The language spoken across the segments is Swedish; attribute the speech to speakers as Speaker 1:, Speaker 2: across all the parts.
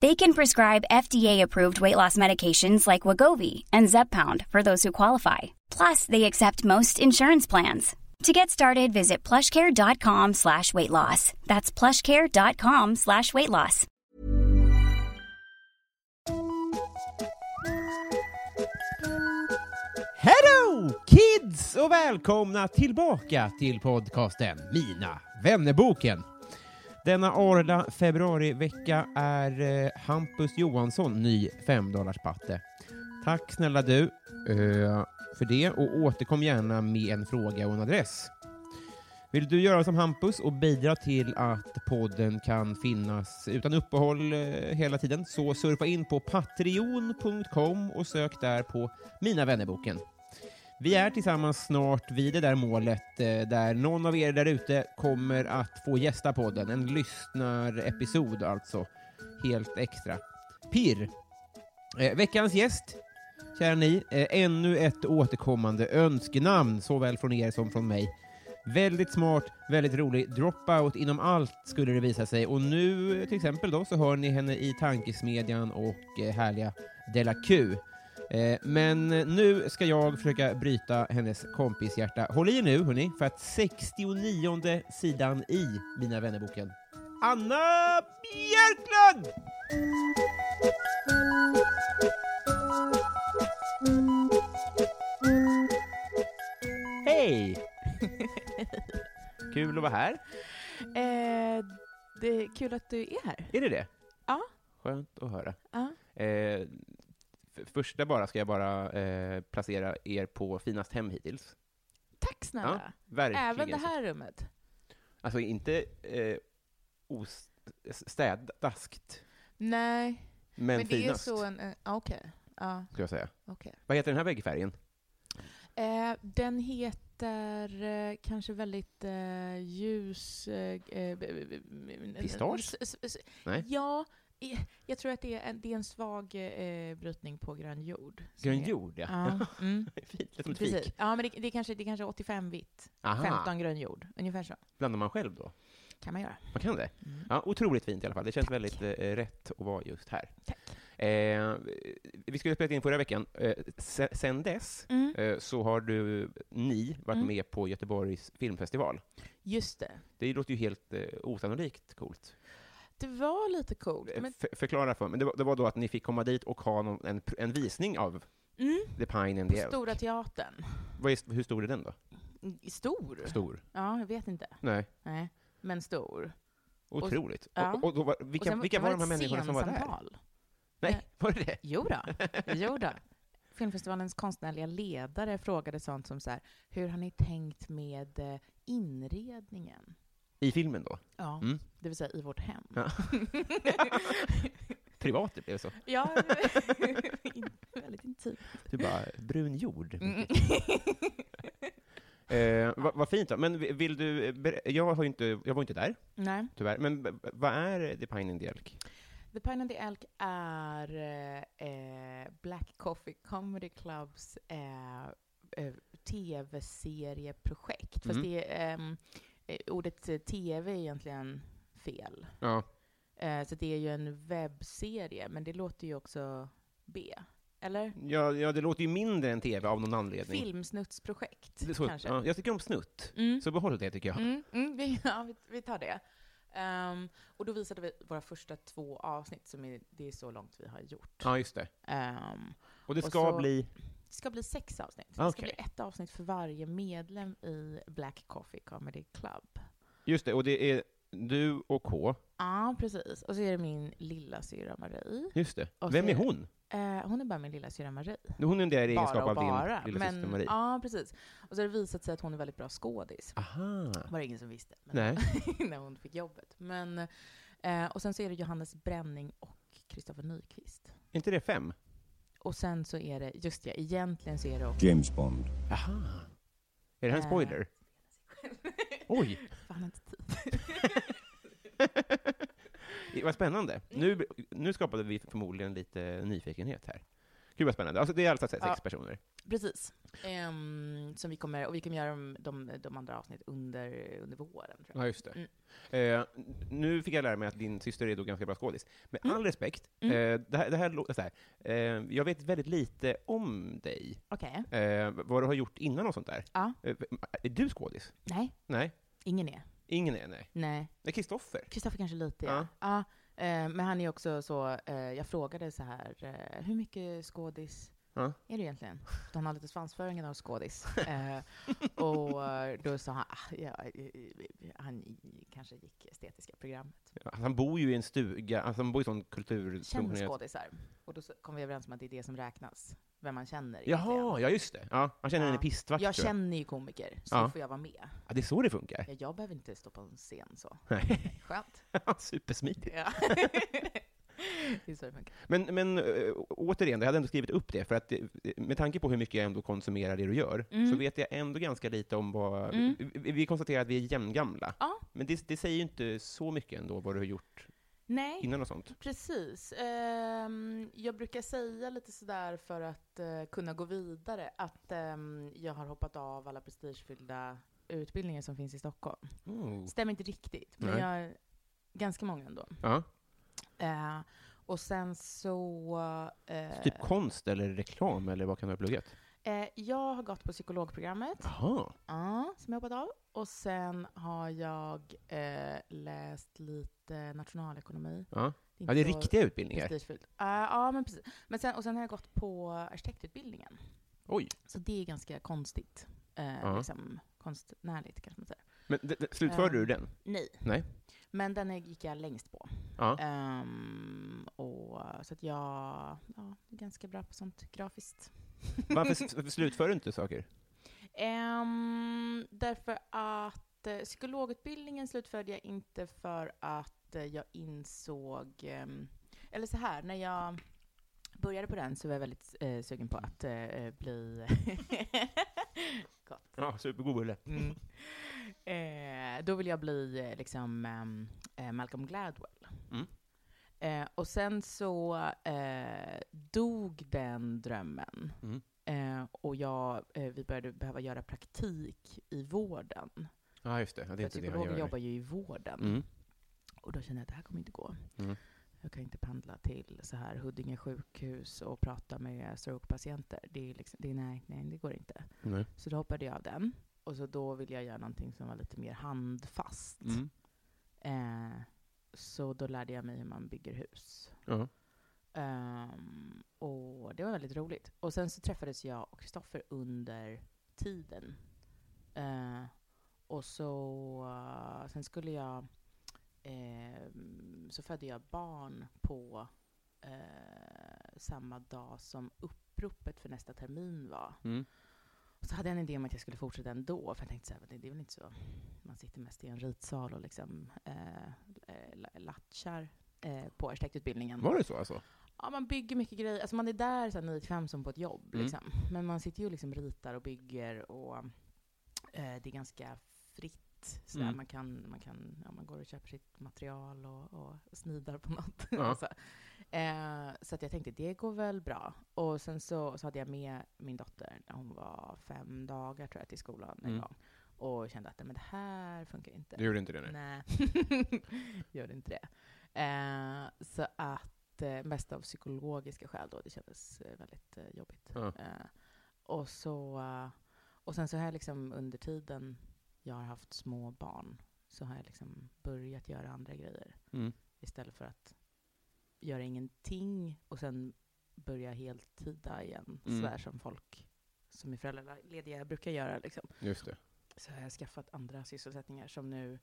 Speaker 1: They can prescribe FDA-approved weight loss medications like Wagovi and Zepbound for those who qualify. Plus, they accept most insurance plans. To get started, visit plushcare.com slash weight loss. That's plushcare.com slash weight loss.
Speaker 2: Hello kids och välkomna tillbaka till podcasten Mina vännerboken. Denna arla februarivecka är eh, Hampus Johansson ny femdollarspatte. Tack snälla du eh, för det och återkom gärna med en fråga och en adress. Vill du göra som Hampus och bidra till att podden kan finnas utan uppehåll eh, hela tiden så surfa in på patreon.com och sök där på Mina vännerboken. Vi är tillsammans snart vid det där målet eh, där någon av er där ute kommer att få gästa podden. En lyssnarepisod alltså. Helt extra. Pirr! Eh, veckans gäst, kära ni, eh, ännu ett återkommande önskenamn såväl från er som från mig. Väldigt smart, väldigt rolig, dropout inom allt skulle det visa sig och nu eh, till exempel då så hör ni henne i Tankesmedjan och eh, härliga Della Q. Eh, Men nu ska jag försöka bryta hennes kompishjärta. Håll i er nu, hörni, för att 69 sidan i Mina vännerboken. Anna Björklund! Hej! Kul att vara här.
Speaker 3: Eh, det är kul att du är här.
Speaker 2: Är det det?
Speaker 3: Ja.
Speaker 2: Skönt att höra.
Speaker 3: Ja.
Speaker 2: Eh, f- första bara ska jag bara eh, placera er på finast hem hittills.
Speaker 3: Tack snälla.
Speaker 2: Verkligen.
Speaker 3: Även det
Speaker 2: så.
Speaker 3: här rummet.
Speaker 2: Alltså inte eh, os- städaskt,
Speaker 3: Nej,
Speaker 2: men,
Speaker 3: men det
Speaker 2: finast,
Speaker 3: är så en... en ja, Okej. Ja,
Speaker 2: skulle jag säga.
Speaker 3: okej.
Speaker 2: Vad heter den här väggfärgen?
Speaker 3: Eh, den heter eh, kanske väldigt eh, ljus... Eh, eh, b- b- b-
Speaker 2: Pistage?
Speaker 3: s- s- s-
Speaker 2: Nej.
Speaker 3: Ja, eh, jag tror att det är en, det är en svag eh, brytning på grön jord. som
Speaker 2: Grön
Speaker 3: är-
Speaker 2: jord, ja.
Speaker 3: Ja, mm,
Speaker 2: Fint, det är som ett
Speaker 3: precis.
Speaker 2: fik. Ah.
Speaker 3: Ja, men det, det, är kanske, det är kanske 85 vitt,
Speaker 2: Aha,
Speaker 3: 15 grön jord. Ungefär så
Speaker 2: blandar man själv då?
Speaker 3: kan man göra.
Speaker 2: Man kan det?
Speaker 3: Mm.
Speaker 2: Ja, otroligt fint i alla fall. Det känns
Speaker 3: Tack.
Speaker 2: väldigt eh, rätt att vara just här.
Speaker 3: Tack.
Speaker 2: Eh, vi skulle spela in förra veckan. Eh, se- sen dess
Speaker 3: Mm.
Speaker 2: eh, så har du, ni, varit
Speaker 3: Mm.
Speaker 2: med på Göteborgs filmfestival.
Speaker 3: Just det.
Speaker 2: Det låter ju helt eh, osannolikt coolt.
Speaker 3: Det var lite coolt. Men,
Speaker 2: F- förklara för mig. Det var, det var då att ni fick komma dit och ha någon, en, pr- en visning av
Speaker 3: mm,
Speaker 2: The Pine and
Speaker 3: på
Speaker 2: the Elk.
Speaker 3: Stora Teatern.
Speaker 2: Vad är, hur stor är den då?
Speaker 3: Mm, Stor?
Speaker 2: Stor?
Speaker 3: Ja, jag vet inte.
Speaker 2: Nej.
Speaker 3: Nej, men stor.
Speaker 2: Otroligt. Och,
Speaker 3: ja.
Speaker 2: och, då var, vilka
Speaker 3: sen
Speaker 2: vilka var, de
Speaker 3: det
Speaker 2: här
Speaker 3: ett
Speaker 2: människorna som var där?
Speaker 3: scensamtal.
Speaker 2: Nej, var det det?
Speaker 3: Jo då, jo då. Filmfestivalens konstnärliga ledare frågade sånt som så här, hur har ni tänkt med eh, inredningen?
Speaker 2: I filmen då?
Speaker 3: Ja,
Speaker 2: Mm.
Speaker 3: det vill säga i vårt hem.
Speaker 2: Ja. Privat det blev så.
Speaker 3: ja, in- väldigt intimt.
Speaker 2: Du bara, brun jord.
Speaker 3: Mm.
Speaker 2: Eh, vad, vad fint då. Men vi- vill du, eh, ber- jag, har ju inte, jag var inte där,
Speaker 3: Nej.
Speaker 2: tyvärr. Men b- b- vad är The Pine and the Elk?
Speaker 3: The Pine and the Elk är eh, eh, Black Coffee Comedy Clubs eh, eh, tv-serieprojekt. Fast
Speaker 2: Mm.
Speaker 3: det är, ehm, eh, ordet eh, tv är egentligen fel.
Speaker 2: Ja.
Speaker 3: Eh, så det är ju en webbserie, men det låter ju också B. Eller?
Speaker 2: Ja, ja, det låter ju mindre än tv av någon anledning. Det är
Speaker 3: Filmsnuttsprojekt,
Speaker 2: så-
Speaker 3: kanske.
Speaker 2: Ja, jag tycker om snutt,
Speaker 3: Mm.
Speaker 2: så behåll det tycker jag.
Speaker 3: Mm, mm, vi, ja, vi, vi tar det. Ehm, och då visade vi våra första två avsnitt, som är, det är så långt vi har gjort.
Speaker 2: Ja, just det.
Speaker 3: Ehm,
Speaker 2: Och det
Speaker 3: Och
Speaker 2: ska
Speaker 3: så-
Speaker 2: bli
Speaker 3: Det ska bli sex avsnitt. Det ska
Speaker 2: Okej.
Speaker 3: bli ett avsnitt för varje medlem i Black Coffee Comedy Club.
Speaker 2: Just det, och det är du och K.
Speaker 3: Ja, precis. Och så är det min lilla syra Marie.
Speaker 2: Just det.
Speaker 3: Och
Speaker 2: Vem
Speaker 3: så
Speaker 2: är
Speaker 3: är det-
Speaker 2: hon?
Speaker 3: Eh, hon är bara min lilla syra Marie.
Speaker 2: Hon är en del egenskap
Speaker 3: Bara och
Speaker 2: av
Speaker 3: bara.
Speaker 2: din lilla syster
Speaker 3: Men,
Speaker 2: Marie.
Speaker 3: ja, precis. Och så har det visat sig att hon är väldigt bra skådis.
Speaker 2: Aha.
Speaker 3: var det ingen som visste. Men
Speaker 2: Nej.
Speaker 3: när hon fick jobbet. Men, eh, och sen så är det Johannes Bränning och Kristoffer Nyqvist.
Speaker 2: Är inte det fem?
Speaker 3: Och sen så är det, just ja, egentligen så är det också...
Speaker 4: James Bond.
Speaker 2: Aha. Är det här en
Speaker 3: Eh.
Speaker 2: spoiler? Oj!
Speaker 3: Fan, inte tid.
Speaker 2: Det- Vad spännande. Nu, nu skapade vi förmodligen lite nyfikenhet här. Gud vad spännande. Alltså, det är alltså sex
Speaker 3: Ja.
Speaker 2: personer.
Speaker 3: Precis. Ehm, som vi kommer, och vi kommer göra de, de, de andra avsnitt under, under våren. Tror jag.
Speaker 2: Ja, just det.
Speaker 3: Mm.
Speaker 2: Eh, nu fick jag lära mig att din syster är då ganska bra skådis. Med
Speaker 3: Mm.
Speaker 2: all respekt, eh, det här, det här låter så här. Eh, jag vet väldigt lite om dig,
Speaker 3: Okej.
Speaker 2: eh, vad du har gjort innan och sånt där.
Speaker 3: Ja.
Speaker 2: Eh, är du skådis?
Speaker 3: Nej,
Speaker 2: Nej,
Speaker 3: ingen är.
Speaker 2: ingen är nej.
Speaker 3: Nej.
Speaker 2: Nej, Kristoffer.
Speaker 3: Kristoffer kanske lite,
Speaker 2: Ja.
Speaker 3: ja. ja. eh, men han är också så, eh, jag frågade så här, eh, hur mycket skådis
Speaker 2: Ja.
Speaker 3: är du egentligen? Så han har lite svansföring av skådis. Eh, och då sa han, ah, ja, eh, eh, han i- kanske gick estetiska programmet.
Speaker 2: Alltså, han bor ju i en stuga, alltså, han bor i sån kultur...
Speaker 3: Känn skådisar. Och då så kom vi överens om att det är det som räknas, vem man känner. egentligen.
Speaker 2: Jaha, ja just det. Ja, han känner
Speaker 3: Ja.
Speaker 2: henne i pistvakt.
Speaker 3: Jag
Speaker 2: tror jag.
Speaker 3: känner ju komiker, så
Speaker 2: Ja.
Speaker 3: får jag vara med.
Speaker 2: Ja, det är så det funkar.
Speaker 3: Ja, Jag behöver inte stå på en scen så.
Speaker 2: Nej.
Speaker 3: Skönt.
Speaker 2: Supersmidigt.
Speaker 3: Ja. det är så det funkar.
Speaker 2: Men, men eh, återigen, jag hade ändå skrivit upp det, för att eh, med tanke på hur mycket jag ändå konsumerar det du gör,
Speaker 3: Mm.
Speaker 2: så vet jag ändå ganska lite om vad...
Speaker 3: Mm.
Speaker 2: Vi, vi konstaterar att vi är jämngamla.
Speaker 3: Ja.
Speaker 2: Men det, det säger ju inte så mycket ändå vad du har gjort
Speaker 3: Nej.
Speaker 2: innan och sånt.
Speaker 3: Precis. Ehm, jag brukar säga lite sådär för att eh, kunna gå vidare att ehm, jag har hoppat av alla prestigefyllda utbildningar som finns i Stockholm. Stämmer inte riktigt, men
Speaker 2: Oh. Nej.
Speaker 3: jag ganska många ändå.
Speaker 2: Ja.
Speaker 3: Eh, och sen så... eh,
Speaker 2: Så Typ konst eller reklam, eller vad kan du ha pluggat?
Speaker 3: eh, jag har gått på psykologprogrammet,
Speaker 2: Jaha.
Speaker 3: ja, som jag hoppat av. Och sen har jag eh, läst lite nationalekonomi.
Speaker 2: Ja.
Speaker 3: inte
Speaker 2: ja, det är
Speaker 3: så-
Speaker 2: riktiga utbildningar.
Speaker 3: Prestigefyllt. Eh, ja, men precis. Men sen, och sen har jag gått på arkitektutbildningen.
Speaker 2: Oj.
Speaker 3: Så det är ganska konstigt. Eh,
Speaker 2: Ja.
Speaker 3: liksom, konstnärligt kanske man säger.
Speaker 2: Men d- d- slutförde
Speaker 3: Eh.
Speaker 2: du den?
Speaker 3: Nej.
Speaker 2: Nej.
Speaker 3: Men den är- gick jag längst på.
Speaker 2: Ja.
Speaker 3: Ehm, och, så att jag ja, är ganska bra på sånt grafiskt.
Speaker 2: Varför, s- varför slutför du inte saker?
Speaker 3: Ehm, därför att eh, psykologutbildningen slutförde jag inte för att eh, jag insåg, ehm, eller så här, när jag började på den så var jag väldigt eh, sugen på att eh, bli gott.
Speaker 2: Ja, supergod bulle.
Speaker 3: Mm. Eh, då vill jag bli eh, liksom ehm, eh, Malcolm Gladwell.
Speaker 2: Mm.
Speaker 3: Eh, och sen så eh, dog den drömmen.
Speaker 2: Mm.
Speaker 3: Eh, och jag, eh, vi började behöva göra praktik i vården.
Speaker 2: Ja, just det. Ja, det är
Speaker 3: För
Speaker 2: inte det han
Speaker 3: psykologer
Speaker 2: gör.
Speaker 3: jobbar ju i vården.
Speaker 2: Mm.
Speaker 3: Och då kände jag att det här kommer inte gå.
Speaker 2: Mm.
Speaker 3: Jag kan inte pendla till så här Huddinge sjukhus och prata med strokepatienter. Det är liksom, det är, nej, nej, det går inte.
Speaker 2: Nej.
Speaker 3: Så då hoppade jag av den. Och så då ville jag göra någonting som var lite mer handfast.
Speaker 2: Mm.
Speaker 3: Eh, så då lärde jag mig hur man bygger hus.
Speaker 2: Ja.
Speaker 3: Ehm, och det var väldigt roligt. Och sen så träffades jag och Kristoffer under tiden. Eh, och så, eh, sen skulle jag, ehm, så födde jag barn på eh, samma dag som uppropet för nästa termin var.
Speaker 2: Mm.
Speaker 3: Och så hade jag en idé om att jag skulle fortsätta ändå, för jag tänkte så här, det, det är väl inte så, man sitter mest i en ritsal och liksom eh, eh, latchar eh, på arkitektutbildningen.
Speaker 2: Var det så alltså?
Speaker 3: Ja, man bygger mycket grejer. Alltså man är där så här 9 till 5 som på ett jobb.
Speaker 2: Mm.
Speaker 3: Liksom. Men man sitter ju och liksom ritar och bygger och eh, det är ganska fritt. Så där.
Speaker 2: Mm.
Speaker 3: Man, kan, man, kan, ja, man går och köper sitt material och, och snidar på något.
Speaker 2: Ja.
Speaker 3: så. Eh, så att jag tänkte, det går väl bra. Och sen så, så hade jag med min dotter när hon var fem dagar tror jag, till skolan en
Speaker 2: Mm.
Speaker 3: gång. Och kände att "Nej, men det här funkar inte.
Speaker 2: Du gjorde inte det, nej.
Speaker 3: Nej, gör inte det. Eh, så att, eh, mest av psykologiska skäl då, det kändes eh, väldigt eh, jobbigt.
Speaker 2: Ja.
Speaker 3: Eh, och, så, eh, och sen så har jag liksom under tiden jag har haft små barn så har jag liksom börjat göra andra grejer
Speaker 2: Mm.
Speaker 3: istället för att göra ingenting och sen börja heltida igen,
Speaker 2: Mm.
Speaker 3: sådär som folk som är föräldralediga brukar göra. Liksom.
Speaker 2: Just det.
Speaker 3: Så har jag skaffat andra sysselsättningar som nu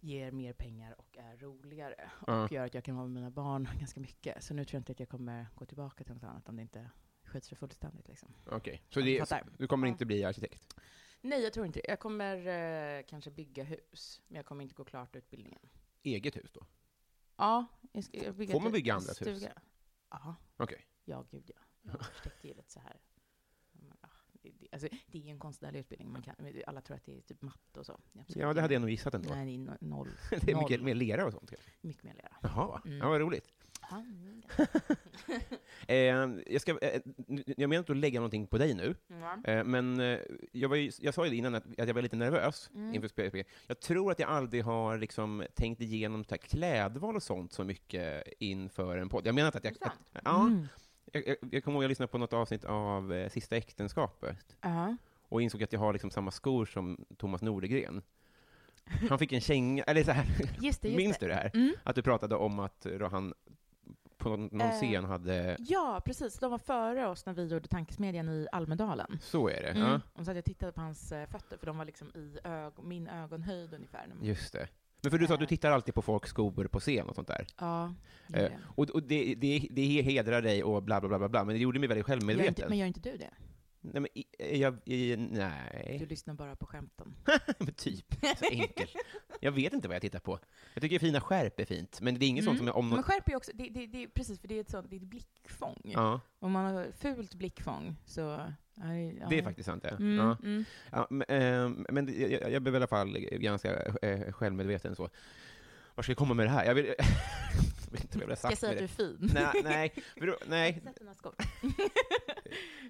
Speaker 3: ger mer pengar och är roligare.
Speaker 2: Ja.
Speaker 3: Och gör att jag kan vara med mina barn ganska mycket. Så nu tror jag inte att jag kommer gå tillbaka till något annat om det inte skjuts för fullständigt. Liksom.
Speaker 2: Okej, så
Speaker 3: Jag
Speaker 2: det,
Speaker 3: fattar.
Speaker 2: du kommer
Speaker 3: Ja.
Speaker 2: inte bli arkitekt?
Speaker 3: Nej, jag tror inte det. Jag kommer eh, kanske bygga hus, men jag kommer inte gå klart utbildningen.
Speaker 2: Eget hus då?
Speaker 3: Ja, jag ska jag bygga
Speaker 2: Får man
Speaker 3: ett-
Speaker 2: bygga
Speaker 3: en
Speaker 2: andras hus?
Speaker 3: stuga. Ja,
Speaker 2: Okej.
Speaker 3: ja gud ja. Jag arkitekt är ju lite så här. men, ja, Det, det, alltså, det är ju en konstnärlig utbildning. Man kan, alla tror att det är typ matte och så. Absolut
Speaker 2: Ja, det hade jag nog gissat ändå.
Speaker 3: Nej, det är no, noll.
Speaker 2: det är mycket
Speaker 3: noll.
Speaker 2: mer lera och sånt kanske.
Speaker 3: Mycket mer lera.
Speaker 2: Jaha,
Speaker 3: Mm.
Speaker 2: ja, vad roligt.
Speaker 3: Ja, mm,
Speaker 2: Eh, jag, ska, eh, nu- jag menar inte att lägga någonting på dig nu,
Speaker 3: ja.
Speaker 2: eh, men eh, jag, var ju, jag sa ju innan att, att jag var lite nervös
Speaker 3: Mm.
Speaker 2: inför spel. Jag tror att jag aldrig har liksom, tänkt igenom så här, klädval och sånt så mycket inför en podd. Jag menar inte att jag...
Speaker 3: Sant.
Speaker 2: Att, ja,
Speaker 3: Mm.
Speaker 2: jag, jag, jag kommer ihåg att jag lyssnade på något avsnitt av eh, Sista äktenskapet
Speaker 3: Ja.
Speaker 2: och insåg att jag har liksom samma skor som Thomas Nordegren. Han fick en känga, eller så här,
Speaker 3: Just det, just
Speaker 2: minns
Speaker 3: det.
Speaker 2: du det här?
Speaker 3: Mm.
Speaker 2: Att du pratade om att eh, då han på någon, någon
Speaker 3: Eh.
Speaker 2: scen hade...
Speaker 3: Ja, precis. De var före oss när vi gjorde Tankesmedjan i Almedalen.
Speaker 2: Så är det.
Speaker 3: Mm.
Speaker 2: Ja.
Speaker 3: Och så att jag tittade på hans eh, fötter, för de var liksom i ög- min ögonhöjd ungefär. När man-
Speaker 2: Just det. Men för du sa att du
Speaker 3: Eh.
Speaker 2: tittar alltid på folks skor på scen och sånt där.
Speaker 3: Ja, det
Speaker 2: Eh,
Speaker 3: gjorde jag.
Speaker 2: Och, och det, det, det hedrar dig och bla, bla, bla, bla, bla men det gjorde mig väldigt
Speaker 3: Gör inte,
Speaker 2: självmedveten.
Speaker 3: men gör inte du det?
Speaker 2: Nej, men i, jag, i,
Speaker 3: Du
Speaker 2: nej.
Speaker 3: lyssnar bara på skämten.
Speaker 2: Men Eh. typ. Så enkelt. Jag vet inte vad jag tittar på. Jag tycker fina skärp är fint, men det är inget sånt som jag om
Speaker 3: Men
Speaker 2: något...
Speaker 3: skärp Mm. är också, det, det, det, är precis, för det är ett sånt, det är ett blickfång.
Speaker 2: Ja,
Speaker 3: Om man har fult blickfång så... Ja, ja.
Speaker 2: det är faktiskt sant. Ja.
Speaker 3: Mm,
Speaker 2: Ja.
Speaker 3: mm.
Speaker 2: Ja, men, eh, men det- jag, jag blev i alla fall ganska eh, självmedveten så. Var ska jag komma med det här? Jag, vill, jag vet inte vad jag vill ha
Speaker 3: Ska jag
Speaker 2: sagt
Speaker 3: säga
Speaker 2: med
Speaker 3: att du är
Speaker 2: det. Nej,
Speaker 3: fin?
Speaker 2: nej, för då- nej,
Speaker 3: Sätt dina skor.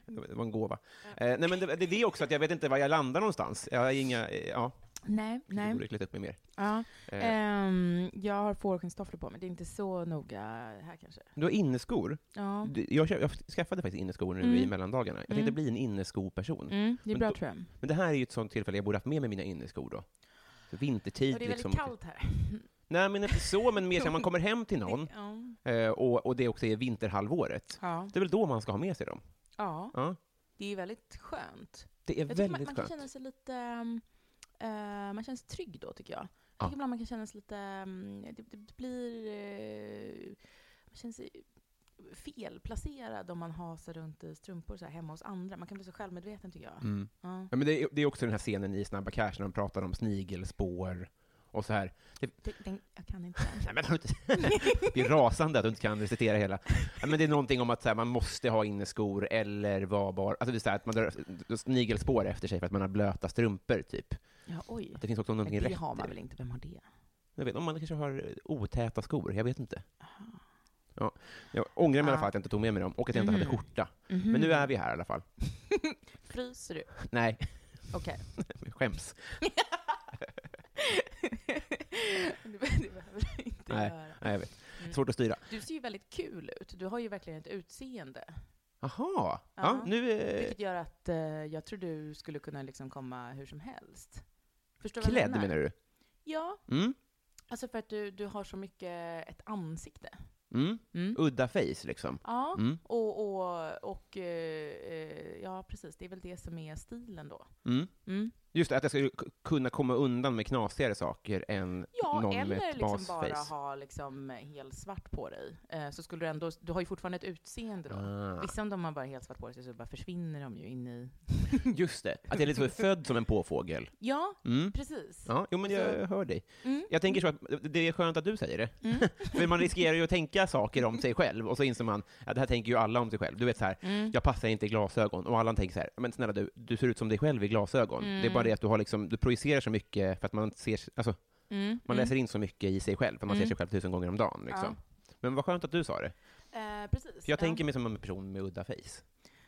Speaker 2: Det var en gåva. Eh, nej, men det, det är det också, att jag vet inte var jag landar någonstans. Jag har inga, eh, ja,
Speaker 3: Nej,
Speaker 2: det
Speaker 3: nej.
Speaker 2: borde klätt upp mig mer.
Speaker 3: Ja.
Speaker 2: Eh,
Speaker 3: Ehm, jag har fårskinnstofflor på mig, det är inte så noga här kanske.
Speaker 2: Du har inneskor.
Speaker 3: Ja.
Speaker 2: Du- Jag, köp- jag skaffade faktiskt inneskor nu
Speaker 3: Mm.
Speaker 2: i mellandagarna. Jag tänkte
Speaker 3: Mm.
Speaker 2: bli en inneskoperson.
Speaker 3: Mm, det är
Speaker 2: Men
Speaker 3: bra
Speaker 2: då-
Speaker 3: tror jag.
Speaker 2: Men det här är ju ett sånt tillfälle jag borde haft med mig mina inneskor då. För vintertid
Speaker 3: Och det är
Speaker 2: liksom.
Speaker 3: väldigt kallt här.
Speaker 2: Nej, men inte så, men mer så här, man kommer hem till någon
Speaker 3: Ja.
Speaker 2: eh, och, och det också är vinterhalvåret.
Speaker 3: Ja.
Speaker 2: Det är väl då man ska ha med sig dem?
Speaker 3: ja,
Speaker 2: Ja.
Speaker 3: det är väldigt skönt.
Speaker 2: Det är
Speaker 3: Jag tycker man,
Speaker 2: väldigt
Speaker 3: man kan
Speaker 2: skönt.
Speaker 3: känna sig lite... ehm, eh, man känner sig trygg då, tycker jag. Jag
Speaker 2: Ja.
Speaker 3: tycker ibland man kan känna sig lite... ehm, det, det, det blir... eh, man känner sig felplacerad om man hasar runt i strumpor så här hemma hos andra. Man kan bli så självmedveten, tycker jag.
Speaker 2: Mm.
Speaker 3: Ja.
Speaker 2: Ja, men det, är, det är också den här scenen i Snabba Cash när de pratar om snigelspår och så här.
Speaker 3: Den, den, jag kan inte.
Speaker 2: Nej, men har du inte- det är rasande att du inte kan recitera hela. Ja, men det är någonting om att så här, man måste ha inneskor eller vara bara... Alltså det är så här, att man drar snigelspår efter sig för att man har blöta strumpor, typ.
Speaker 3: Ja, oj.
Speaker 2: Att det finns också
Speaker 3: Men
Speaker 2: någonting
Speaker 3: det
Speaker 2: rätt
Speaker 3: har man
Speaker 2: i
Speaker 3: väl
Speaker 2: det.
Speaker 3: inte? Vem har det?
Speaker 2: Jag vet, om man kanske har eh, otäta skor, jag vet inte.
Speaker 3: Aha.
Speaker 2: Jag ångrar mig i alla
Speaker 3: Ah.
Speaker 2: fall att jag inte tog med mig dem, och att jag inte
Speaker 3: Mhm.
Speaker 2: hade skjorta. Men
Speaker 3: Mm.
Speaker 2: nu är vi här i alla fall.
Speaker 3: Mm-hmm. Fryser du?
Speaker 2: Nej,
Speaker 3: Okej.
Speaker 2: jag skäms.
Speaker 3: det behöver du inte
Speaker 2: Nej.
Speaker 3: göra.
Speaker 2: Nej, jag vet.
Speaker 3: Mm.
Speaker 2: Svårt att styra.
Speaker 3: Du ser ju väldigt kul ut. Du har ju verkligen ett utseende.
Speaker 2: Aha. Ja,
Speaker 3: Ja.
Speaker 2: nu... Eh,
Speaker 3: Vilket gör att eh, jag tror du skulle kunna liksom komma hur som helst. Förstår du vad jag
Speaker 2: klädd,
Speaker 3: menar?
Speaker 2: menar du?
Speaker 3: Ja,
Speaker 2: Mm.
Speaker 3: alltså för att du, du har så mycket ett ansikte.
Speaker 2: Mm.
Speaker 3: Mm.
Speaker 2: Udda face, liksom.
Speaker 3: Ja,
Speaker 2: Mm.
Speaker 3: och, och, och eh, eh, ja precis, det är väl det som är stilen då.
Speaker 2: Mm.
Speaker 3: Mm.
Speaker 2: Just det, att jag skulle k- kunna komma undan med knasigare saker än
Speaker 3: Ja,
Speaker 2: någon med
Speaker 3: eller
Speaker 2: ett
Speaker 3: liksom
Speaker 2: basface.
Speaker 3: bara ha liksom helt svart på dig. Eh, så skulle du ändå, du har ju fortfarande ett utseende då.
Speaker 2: Ah,
Speaker 3: Vissa om de har bara helt svart på sig så bara försvinner de ju in i...
Speaker 2: just det, att jag är lite så är född som en påfågel.
Speaker 3: Ja,
Speaker 2: Mm.
Speaker 3: precis.
Speaker 2: Ja, jo men jag hör dig.
Speaker 3: Mm.
Speaker 2: Jag tänker så att det är skönt att du säger det.
Speaker 3: Mm.
Speaker 2: För man riskerar ju att tänka saker om sig själv och så inser man att det här tänker ju alla om sig själv. Du vet så här,
Speaker 3: Mm.
Speaker 2: jag passar inte i glasögon och alla tänker så här, men snälla du, du ser ut som dig själv i glasögon. Det är bara det att du har liksom, du projicerar så mycket för att man ser, alltså
Speaker 3: Mm.
Speaker 2: man
Speaker 3: Mm.
Speaker 2: läser in så mycket i sig själv, för man ser
Speaker 3: Mm.
Speaker 2: sig själv tusen gånger om dagen liksom. Men vad skönt att du sa det.
Speaker 3: Eh, precis.
Speaker 2: För jag
Speaker 3: ja.
Speaker 2: tänker mig som en person med udda face.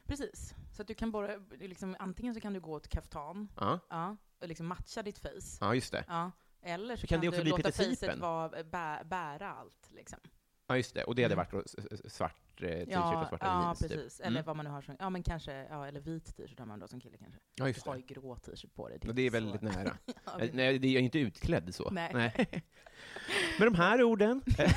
Speaker 3: Precis. Så att du kan bara, liksom, antingen så kan du gå åt kaftan,
Speaker 2: Ja,
Speaker 3: ja, och liksom matcha ditt face,
Speaker 2: ja just det.
Speaker 3: ja. Eller så
Speaker 2: Kan
Speaker 3: kan,
Speaker 2: det också
Speaker 3: du
Speaker 2: bli
Speaker 3: låta
Speaker 2: Peter
Speaker 3: facet
Speaker 2: Sipen?
Speaker 3: vara, eh, bä, bära allt. Liksom.
Speaker 2: Ja, just det. Och det hade
Speaker 3: Mm.
Speaker 2: varit då s- s- svart eh, t-shirt och
Speaker 3: Ja,
Speaker 2: svarta
Speaker 3: ja
Speaker 2: jeans. typ.
Speaker 3: precis. Eller
Speaker 2: Mm.
Speaker 3: vad man nu har som, ja men kanske, ja, eller vit t-shirt har man då som kille kanske.
Speaker 2: Ja,
Speaker 3: Du
Speaker 2: just
Speaker 3: har ju
Speaker 2: det.
Speaker 3: grå t-shirt på dig.
Speaker 2: Och det är
Speaker 3: inte så-
Speaker 2: väldigt nära.
Speaker 3: Ja,
Speaker 2: Eh, Nej, det är jag är inte utklädd så.
Speaker 3: Nej.
Speaker 2: Med de här orden, eh,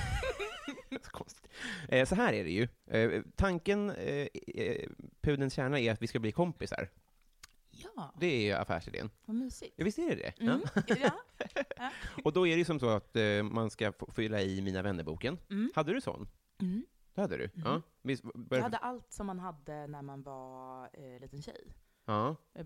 Speaker 2: Så konstigt. Eh, så här är det ju. Eh, tanken, eh, eh, pudelns kärna, är att vi ska bli kompisar.
Speaker 3: Ja,
Speaker 2: Det är ju affärsidén.
Speaker 3: vad mysigt.
Speaker 2: Ja, visst är det det?
Speaker 3: Mm.
Speaker 2: Ja.
Speaker 3: Ja.
Speaker 2: Och då är det ju som så att eh, man ska få fylla i Mina vännerboken.
Speaker 3: Mm.
Speaker 2: Hade du sån?
Speaker 3: Mm.
Speaker 2: Det hade du? Ja. Visst, bör...
Speaker 3: Jag hade allt som man hade när man var eh, liten tjej.
Speaker 2: ja.
Speaker 3: Eh,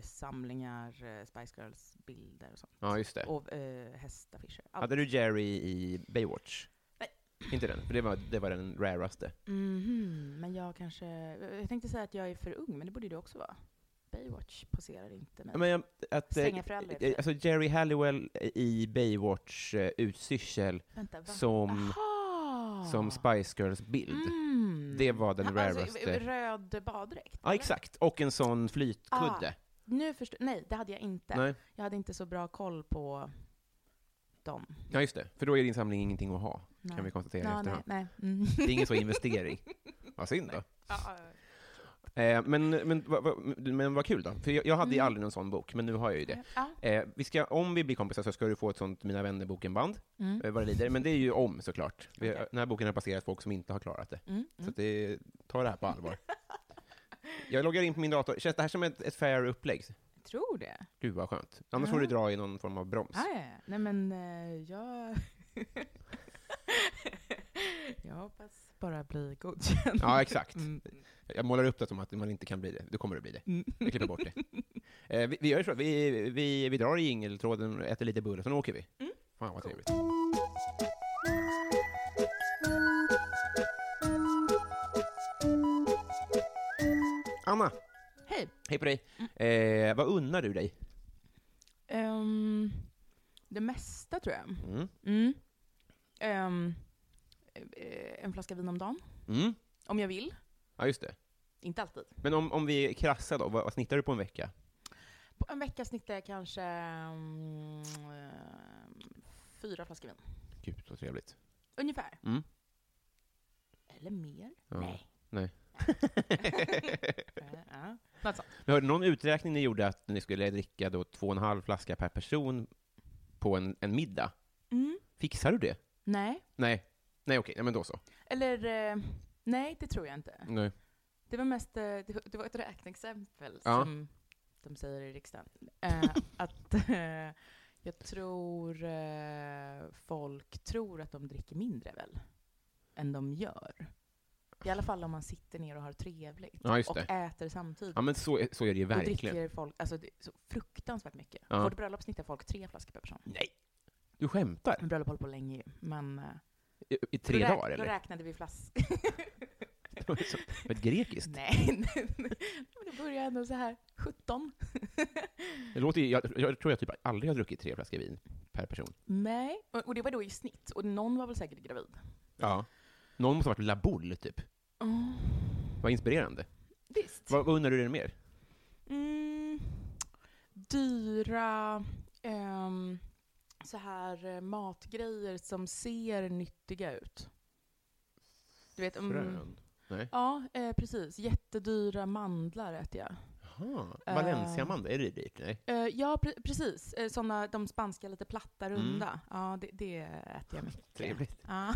Speaker 3: Bokmärkessamlingar, eh, Spice Girls-bilder och sånt.
Speaker 2: ja, just det.
Speaker 3: Och eh, hästaffischer. Allt.
Speaker 2: Hade du Jerry i Baywatch?
Speaker 3: Nej.
Speaker 2: Inte den, för det var, det var den raraste.
Speaker 3: Mhm, men jag kanske... Jag tänkte säga att jag är för ung, men det borde du också vara. Baywatch poserar inte mig.
Speaker 2: Ja, Men jag, att, eh,
Speaker 3: Stränga föräldrar heter
Speaker 2: eh,
Speaker 3: det.
Speaker 2: alltså Jerry Halliwell i Baywatch eh, utsyrsel
Speaker 3: Vänta, va?
Speaker 2: som,
Speaker 3: Aha!
Speaker 2: som Spice Girls-bild.
Speaker 3: Mm.
Speaker 2: Det var den
Speaker 3: Ja,
Speaker 2: raraste.
Speaker 3: Alltså, röd baddräkt?
Speaker 2: Ja,
Speaker 3: eller?
Speaker 2: exakt. Och en sån flytkudde.
Speaker 3: Nu förstår... Nej, det hade jag inte.
Speaker 2: Nej.
Speaker 3: Jag hade inte så bra koll på dem.
Speaker 2: Ja, just det. För då är din samling ingenting att ha,
Speaker 3: Nej.
Speaker 2: kan vi konstatera i
Speaker 3: Ja, nej,
Speaker 2: efterhand.
Speaker 3: nej. Mm.
Speaker 2: Det är ingen så investering. Vad synd då.
Speaker 3: Ja, ja, ja.
Speaker 2: Eh, men, men, vad- vad- men vad kul då. För jag, jag hade ju
Speaker 3: Mm.
Speaker 2: aldrig någon sån bok, men nu har jag ju det.
Speaker 3: Ja.
Speaker 2: Eh, vi ska, om vi blir kompisar så ska du få ett sånt Mina vänner-boken-band,
Speaker 3: Mm.
Speaker 2: eh, vad det lider. Men det är ju om såklart. Vi,
Speaker 3: Okej.
Speaker 2: Den här boken har passerat folk som inte har klarat det.
Speaker 3: Mm.
Speaker 2: Så
Speaker 3: Mm.
Speaker 2: att det, ta det här på allvar. jag loggar in på min dator. Känns det här som ett, ett fair upplägg?
Speaker 3: Jag tror det.
Speaker 2: Gud vad skönt. Annars
Speaker 3: Ja.
Speaker 2: får du dra i någon form av broms.
Speaker 3: Ah, ja, ja. Nej, men eh, jag... jag hoppas bara bli godkänd.
Speaker 2: Ja, exakt.
Speaker 3: Mm.
Speaker 2: Jag målar upp det som att man inte kan bli det. Du kommer att bli det.
Speaker 3: Mm.
Speaker 2: Jag klipper bort det. Eh, vi, vi gör så att vi, vi, vi drar i jingeltråden, äter lite bulle, sen åker vi.
Speaker 3: Mm.
Speaker 2: Fan vad trevligt. Anna,
Speaker 3: Hej.
Speaker 2: hej på dig.
Speaker 3: Mm.
Speaker 2: Eh, vad unnar du dig?
Speaker 3: Ehm, det mesta, tror jag.
Speaker 2: Mm.
Speaker 3: Mm. Ehm, eh, en flaska vin om dagen,
Speaker 2: Mm.
Speaker 3: om jag vill.
Speaker 2: Ja, just det.
Speaker 3: Inte alltid.
Speaker 2: Men om, om vi krassar då, vad, vad snittar du på en vecka?
Speaker 3: På en vecka snittar jag kanske mm, eh, fyra flaskor vin.
Speaker 2: Gud, så trevligt.
Speaker 3: Ungefär.
Speaker 2: Mm.
Speaker 3: Eller mer?
Speaker 2: Ja.
Speaker 3: Nej.
Speaker 2: Nej.
Speaker 3: Eh, ja. Något sånt.
Speaker 2: Jag hörde någon uträkning ni gjorde att ni skulle dricka då två och en halv flaska per person på en, en middag.
Speaker 3: Mm.
Speaker 2: Fixar du det?
Speaker 3: Nej.
Speaker 2: Nej. Nej, okej. Nej, men då så.
Speaker 3: Eller, eh, nej det tror jag inte.
Speaker 2: Nej.
Speaker 3: Det var mest, eh, det det var ett räkneexempel
Speaker 2: Ja.
Speaker 3: som de säger i riksdagen. Eh, att eh, jag tror eh, folk tror att de dricker mindre väl, än de gör. I alla fall om man sitter ner och har trevligt
Speaker 2: Ja, just
Speaker 3: och
Speaker 2: det.
Speaker 3: äter samtidigt.
Speaker 2: Ja, men så, är- så är det ju
Speaker 3: Då
Speaker 2: verkligen.
Speaker 3: dricker folk alltså, det är så fruktansvärt mycket.
Speaker 2: Ja.
Speaker 3: På vårt bröllop snittar folk tre flaskor per person.
Speaker 2: Nej. Du skämtar?
Speaker 3: Men bröllop håller på länge ju, men... eh,
Speaker 2: I, i tre
Speaker 3: då räk-
Speaker 2: dagar,
Speaker 3: Då
Speaker 2: eller?
Speaker 3: räknade vi flaskor.
Speaker 2: Det var så- det var ett grekiskt?
Speaker 3: Nej, nej, nej. men det börjar ändå så här 17.
Speaker 2: Det låter ju, jag, jag tror jag typ aldrig har druckit tre flaskor vin per person.
Speaker 3: Nej, och och det var då i snitt. Och någon var väl säkert gravid.
Speaker 2: Ja. Någon måste ha varit Laboul, typ. Vad
Speaker 3: Typ.
Speaker 2: inspirerande.
Speaker 3: Visst.
Speaker 2: Vad, vad undrar du dig mer?
Speaker 3: Mm, dyra ehm, så här eh, matgrejer som ser nyttiga ut. Du vet, mm,
Speaker 2: Frön? Nej.
Speaker 3: ja eh, precis. Jättedyra mandlar äter jag.
Speaker 2: Jaha.
Speaker 3: Eh.
Speaker 2: Valenciamandel, är det dyrt? Nej.
Speaker 3: Eh, ja, pre- precis. Eh, såna, de spanska lite platta,
Speaker 2: Mm.
Speaker 3: runda. Ja, det, det äter jag mycket.
Speaker 2: Trevligt.
Speaker 3: Ja.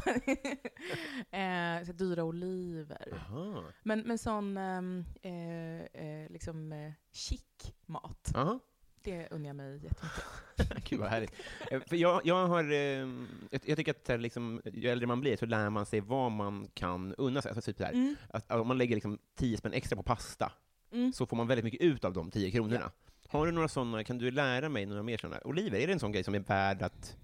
Speaker 3: eh, så dyra oliver.
Speaker 2: Jaha.
Speaker 3: Men, men sån ehm, eh, eh, liksom eh, chic mat,
Speaker 2: Jaha.
Speaker 3: det unnar jag mig jättemycket.
Speaker 2: Gud vad härligt. Eh, För jag, jag, har, eh, jag, jag tycker att så här, liksom, ju äldre man blir så lär man sig vad man kan unna sig. Alltså, typ så här,
Speaker 3: Mm.
Speaker 2: att, att om man lägger liksom 10 spänn extra på pasta
Speaker 3: Mm.
Speaker 2: så får man väldigt mycket ut av de 10 kronorna. Har du några sådana, kan du lära mig några mer sådana? Oliver, är det en sån grej som är värd att...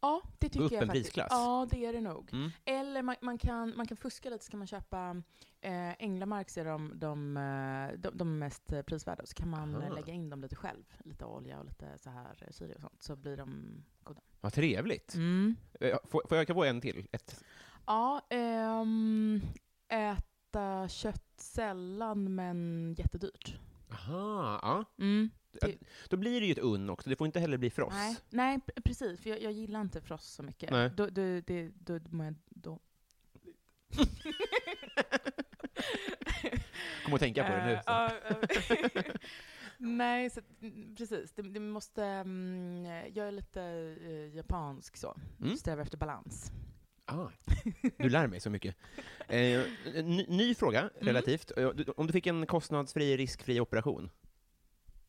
Speaker 3: Ja, det tycker
Speaker 2: upp
Speaker 3: jag
Speaker 2: en
Speaker 3: faktiskt.
Speaker 2: prisklass.
Speaker 3: Ja, det är det nog.
Speaker 2: Mm.
Speaker 3: Eller man, man, kan, man kan fuska lite, så kan man köpa eh, Änglamarks är de, de, eh, de, de mest eh, prisvärda, och så kan man eh,
Speaker 2: Aha.
Speaker 3: lägga in dem lite själv. Lite olja och lite så här eh, syre och sånt, så blir de goda.
Speaker 2: Vad
Speaker 3: Mm.
Speaker 2: trevligt. Eh, Får, får jag kan få en till? Ett.
Speaker 3: Ja, ehm, äta kött sällan men jättedyrt.
Speaker 2: Aha, ja.
Speaker 3: Mm.
Speaker 2: Då blir det ju ett unn också, det får inte heller bli fross.
Speaker 3: Nej, nej p- precis. För jag, jag gillar inte frost så mycket.
Speaker 2: Nej.
Speaker 3: Då, då, det, då, då, mår jag då.
Speaker 2: Kom och tänka på det nu.
Speaker 3: Eh, ja, eh, nej, så, att, mm, precis. Det, det måste, mm, jag är lite eh, japansk så.
Speaker 2: Mm.
Speaker 3: Strävar efter balans.
Speaker 2: Ah, du lär mig så mycket. Eh, ny, ny fråga, relativt. Eh, du- Om du fick en kostnadsfri, riskfri operation?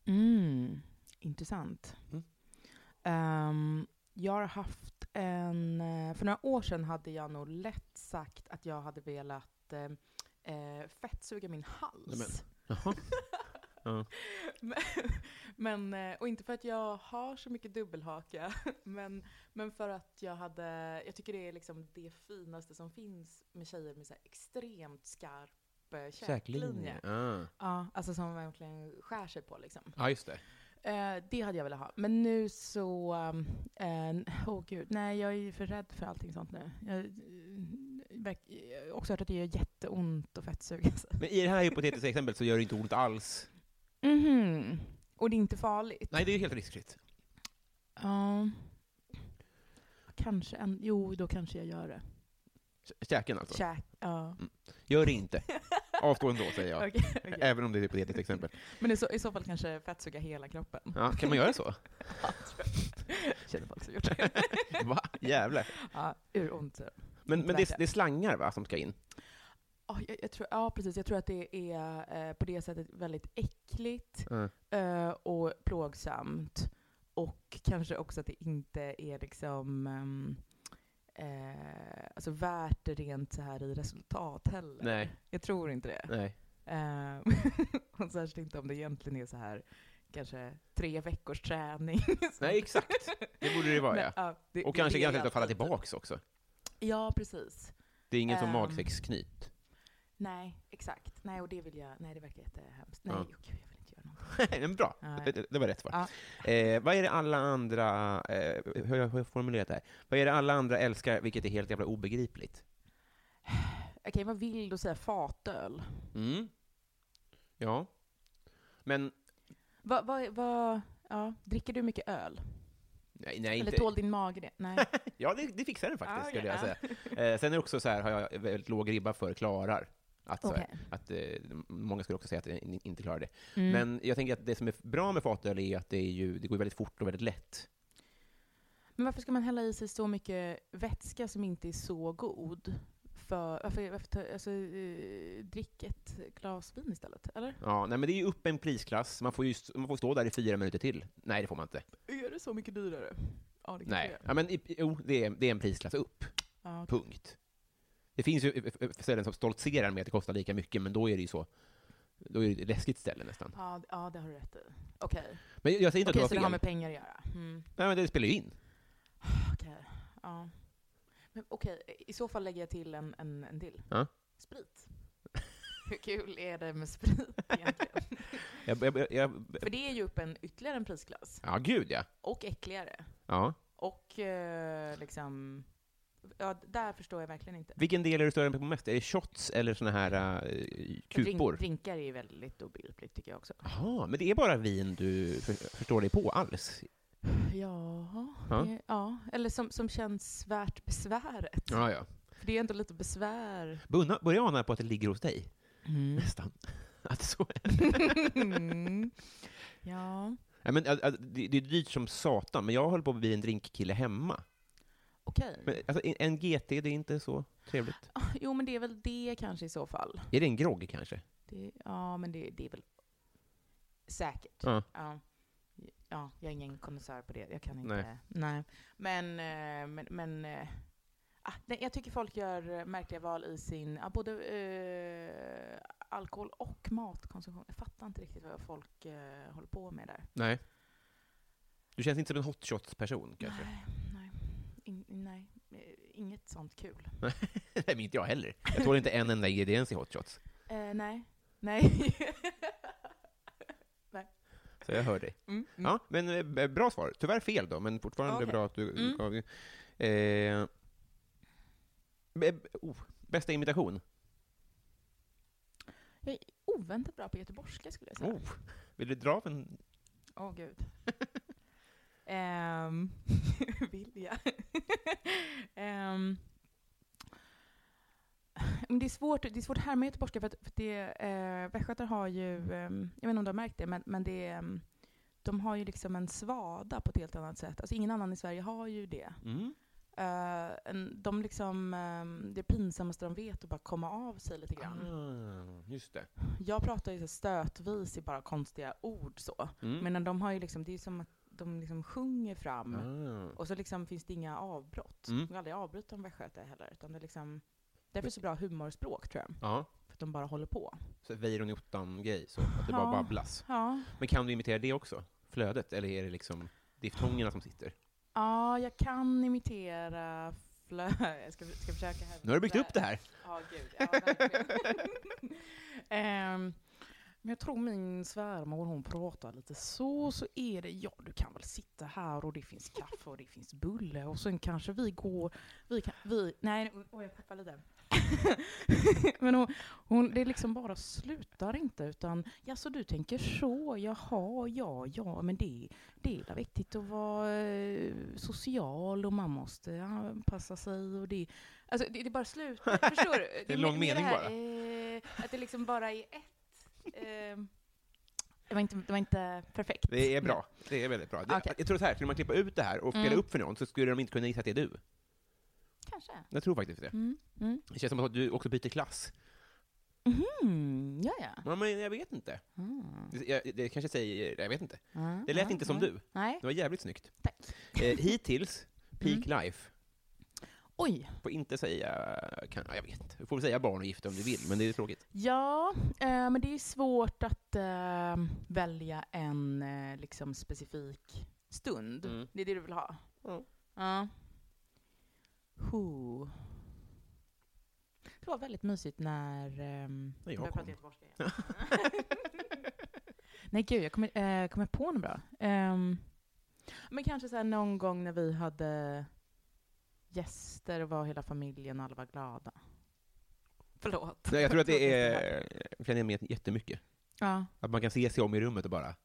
Speaker 3: Mm, intressant.
Speaker 2: Mm.
Speaker 3: Ehm, jag har haft en... eh, För några år sedan hade jag nog lätt sagt att jag hade velat eh, eh, fettsuga min
Speaker 2: Nämen.
Speaker 3: hals.
Speaker 2: Jaha. Ja.
Speaker 3: Men, men, eh, och inte för att jag har så mycket dubbelhaka, men, men för att jag hade... Jag tycker det är liksom det finaste som finns med tjejer med så här extremt skarp eh, käklinje.
Speaker 2: Ah.
Speaker 3: Ja, alltså som verkligen skär sig på liksom.
Speaker 2: Ja, Ah, just det.
Speaker 3: Eh, det hade jag velat ha. Men nu så... um, eh, Åh gud, nej jag är ju för rädd för allting sånt nu. Jag, eh, verk- jag har också hört att det gör jätteont att fettsuga sig.
Speaker 2: Men i det här hypotetiska exemplet så gör det inte ont alls.
Speaker 3: Mhm. Och det är inte farligt?
Speaker 2: Nej, det är helt riskfritt.
Speaker 3: Ja. Kanske en... Jo, då kanske jag gör det.
Speaker 2: Kä- Käken alltså.
Speaker 3: Käk... Ja.
Speaker 2: Gör det inte. Avstå ändå, säger jag. Eh.
Speaker 3: Okej, okej.
Speaker 2: Även om det är ett hypotetiskt exempel.
Speaker 3: Men i så, i så fall kanske fettsuga hela kroppen.
Speaker 2: Ja, kan man göra så?
Speaker 3: Känner folk som gjort det.
Speaker 2: Va? Jävlar.
Speaker 3: ja, ur ont.
Speaker 2: Men, men det,
Speaker 3: Värt det.
Speaker 2: är, det är slangar, va, som ska in?
Speaker 3: Ja, jag, jag tror, ja, precis. Jag tror att det är eh, på det sättet väldigt äckligt.
Speaker 2: Mm.
Speaker 3: eh, och plågsamt. Och kanske också att det inte är liksom ehm, eh, alltså värt det rent så här i resultat heller.
Speaker 2: Nej.
Speaker 3: Jag tror inte det.
Speaker 2: Nej.
Speaker 3: Eh, och särskilt inte om det egentligen är så här kanske tre veckors träning.
Speaker 2: Nej, exakt. Det borde det vara,
Speaker 3: Men,
Speaker 2: ja.
Speaker 3: ja, det-
Speaker 2: Och
Speaker 3: det-
Speaker 2: kanske
Speaker 3: det är
Speaker 2: ganska
Speaker 3: alltså
Speaker 2: lätt att falla
Speaker 3: alltid-
Speaker 2: tillbaks också.
Speaker 3: Ja, precis.
Speaker 2: Det är ingen som
Speaker 3: Ehm.
Speaker 2: magsäcksknyt.
Speaker 3: Nej, exakt. Nej, och det vill jag. Nej, det verkar jättehemskt. Nej,
Speaker 2: Ja.
Speaker 3: oh, gud, jag vill inte göra någonting.
Speaker 2: Nej, men bra.
Speaker 3: Ja,
Speaker 2: Det,
Speaker 3: ja.
Speaker 2: det- det var rätt svar. Eh, vad är det alla andra, eh, hur, har jag- hur har jag formulerat det här? Vad är det alla andra älskar, vilket är helt jävla obegripligt?
Speaker 3: Okej, vad vill du säga? Fatöl?
Speaker 2: Mm. Ja. Men,
Speaker 3: Vad, vad, vad, ja, dricker du mycket öl?
Speaker 2: nej, nej
Speaker 3: Eller
Speaker 2: inte.
Speaker 3: tål din mage det? Nej.
Speaker 2: Ja, det, det fixar den faktiskt,
Speaker 3: Ah,
Speaker 2: skulle jag
Speaker 3: okej,
Speaker 2: säga. Eh, sen är det också så här, har jag väldigt låg ribba för klarar. Att, så här,
Speaker 3: Okej.
Speaker 2: att eh, många skulle också säga att jag inte klarar det.
Speaker 3: Mm.
Speaker 2: Men jag tänker att det som är bra med fatöl är att det, är ju, det går väldigt fort och väldigt lätt.
Speaker 3: Men varför ska man hälla i sig så mycket vätska som inte är så god? För, varför, varför ta, alltså, eh, drick ett glas vin istället, eller?
Speaker 2: Ja, nej, men det är ju upp en prisklass. Man får ju st- man får stå där i fyra minuter till. Nej, det får man inte.
Speaker 3: Är det så mycket dyrare? Ja, det kanske det
Speaker 2: Nej.
Speaker 3: är.
Speaker 2: Ja, men, i- jo, det är, det är en prisklass upp.
Speaker 3: Ja, okej.
Speaker 2: Punkt. Det finns ju eh, eh, ställen som stoltserar med att det kostar lika mycket, men då är det ju så. Då är det ett läskigt ställe nästan.
Speaker 3: ja, d- ja, det har du rätt i. Okej,
Speaker 2: Men jag säger inte
Speaker 3: Okej,
Speaker 2: att
Speaker 3: så
Speaker 2: det
Speaker 3: det
Speaker 2: var fel.
Speaker 3: har med pengar att göra. Mm.
Speaker 2: Nej, men det spelar ju in.
Speaker 3: Okej, ja. Men okej, i så fall lägger jag till en, en, en till.
Speaker 2: Ja.
Speaker 3: Sprit. Hur kul är det med sprit egentligen?
Speaker 2: Jag, jag, jag, jag,
Speaker 3: För det är ju upp en ytterligare en prisklass.
Speaker 2: ja, gud ja.
Speaker 3: Och äckligare.
Speaker 2: ja.
Speaker 3: Och eh, liksom... Ja, d- där förstår jag verkligen inte.
Speaker 2: Vilken del är du större på mest? Är det shots eller såna här eh, kupor?
Speaker 3: Drink, drinkar är ju väldigt obegripligt tycker jag också.
Speaker 2: Jaha, men det är bara vin du för, förstår dig på alls?
Speaker 3: Ja,
Speaker 2: Ja.
Speaker 3: Det, ja. eller som, som känns värt besväret.
Speaker 2: Ja, ja.
Speaker 3: För det är ändå lite besvär.
Speaker 2: Börja- Börja ana på att det ligger hos dig,
Speaker 3: Mm.
Speaker 2: nästan. Att så är.
Speaker 3: Ja,
Speaker 2: Nej, men, att- att det, det är dyrt som satan, men jag höll på att bli en drinkkille hemma.
Speaker 3: okej.
Speaker 2: Men, alltså, en- en GT, det är inte så trevligt.
Speaker 3: Ah, Jo, men det är väl det kanske i så fall.
Speaker 2: Är det en grogg kanske?
Speaker 3: Det, ja, men det, det är väl säkert.
Speaker 2: Ja.
Speaker 3: Ja. Ja, jag är ingen konnässör på det. Jag kan inte.
Speaker 2: Nej.
Speaker 3: Nej. Men, eh, men, men eh, ah, nej, jag tycker folk gör eh, märkliga val i sin, ja, både eh, alkohol och matkonsumtion. Jag fattar inte riktigt vad folk eh, håller på med där.
Speaker 2: Nej. Du känns inte som en hot shots-person kanske?
Speaker 3: Nej, nej. In, nej. Eh, Inget sånt kul.
Speaker 2: Nej, men inte jag heller. Jag tål inte en enda ingrediens i hot shots.
Speaker 3: Eh, nej. Nej.
Speaker 2: Så jag hör dig.
Speaker 3: mm, mm.
Speaker 2: Ja, men eh, b- bra svar. Tyvärr fel då, men fortfarande
Speaker 3: Okej.
Speaker 2: bra att du
Speaker 3: Mm.
Speaker 2: gav... Eh, b- b- oh, bästa imitation?
Speaker 3: Jag är oväntat bra på göteborgska skulle jag säga.
Speaker 2: Oh, vill du dra av en...
Speaker 3: Åh gud. um, vill jag? Ehm, men det, är svårt, det är svårt att härma göteborgska för att, för att det, eh, västgötar har ju, ehm, jag vet inte om du har märkt det, men, men det, ehm,
Speaker 2: Mm.
Speaker 3: de har ju liksom en svada på ett helt annat sätt. Alltså ingen annan i Sverige har ju det. Eh, en, de liksom, eh, det pinsammaste de vet är bara komma av sig lite grann.
Speaker 2: Ah, just det.
Speaker 3: Jag pratar ju så stötvis i bara konstiga ord så.
Speaker 2: Mm.
Speaker 3: Men de har ju liksom, det är som att de liksom sjunger fram.
Speaker 2: Ah.
Speaker 3: Och så liksom finns det inga avbrott.
Speaker 2: Mm.
Speaker 3: De kan aldrig avbryta en västgöte heller. Utan det är liksom, därför är det så bra humorspråk tror jag.
Speaker 2: Ja,
Speaker 3: För att de bara håller på.
Speaker 2: så Weiron i ottan-grej, så att det bara
Speaker 3: Ja.
Speaker 2: babblas.
Speaker 3: Ja,
Speaker 2: Men kan du imitera det också? Flödet? Eller är det liksom diftongerna som sitter?
Speaker 3: ja jag kan imitera flö... Jag ska, ska försöka här.
Speaker 2: Nu har du byggt upp det här!
Speaker 3: Ja, gud. Ja, verkligen. Ehm, men jag tror min svärmor, hon pratar lite så, så är det, ja du kan väl sitta här och det finns kaffe och det finns bulle och sen kanske vi går, vi kan, vi, nej, oj jag tappade lite. men hon, hon, det liksom bara slutar inte utan, ja så du tänker så, jaha, ja, ja, men det, det är väl viktigt att vara eh, social och man måste anpassa sig och det, alltså det, det bara slutar, förstår du? Det
Speaker 2: en lång
Speaker 3: mer- mer
Speaker 2: mening
Speaker 3: det här,
Speaker 2: bara.
Speaker 3: Eh, att det liksom bara är ett Ehm, det, var inte, det var inte perfekt.
Speaker 2: Det är bra. Det är väldigt bra. Det,
Speaker 3: Okej.
Speaker 2: Jag tror så här, skulle man klippa ut det här och spela
Speaker 3: Mm.
Speaker 2: upp för någon så skulle de inte kunna gissa att det är du.
Speaker 3: Kanske.
Speaker 2: Jag tror faktiskt det.
Speaker 3: Mm. Mm.
Speaker 2: Det känns som att du också byter klass.
Speaker 3: Mm, ja, ja.
Speaker 2: Ja, men jag vet inte.
Speaker 3: Mm.
Speaker 2: Det, jag, det kanske säger, jag vet inte.
Speaker 3: Ja,
Speaker 2: Det lät
Speaker 3: ja,
Speaker 2: inte som
Speaker 3: ja.
Speaker 2: du.
Speaker 3: Nej.
Speaker 2: Det var jävligt snyggt.
Speaker 3: Tack.
Speaker 2: Eh, hittills, peak
Speaker 3: Mm.
Speaker 2: life.
Speaker 3: Oj.
Speaker 2: Får inte säga, kan, ja, jag vet inte. Du får väl säga barn och gifta om du vill, men det är tråkigt.
Speaker 3: Ja, eh, men det är ju svårt att eh, välja en eh, liksom specifik stund.
Speaker 2: Mm.
Speaker 3: Det är det du vill ha?
Speaker 2: Ja.
Speaker 3: Ja. Huh. Det var väldigt mysigt när... ehm,
Speaker 2: När jag
Speaker 3: började prata
Speaker 2: kom.
Speaker 3: göteborgska igen. Nej gud, jag kommer, eh, kommer på något bra. Ehm, men kanske så här någon gång när vi hade gäster och var hela familjen och alla var glada. Förlåt.
Speaker 2: Nej, jag tror att det
Speaker 3: Tråkigt
Speaker 2: är fenomenet jättemycket.
Speaker 3: Ja.
Speaker 2: Att man kan se sig om i rummet och bara,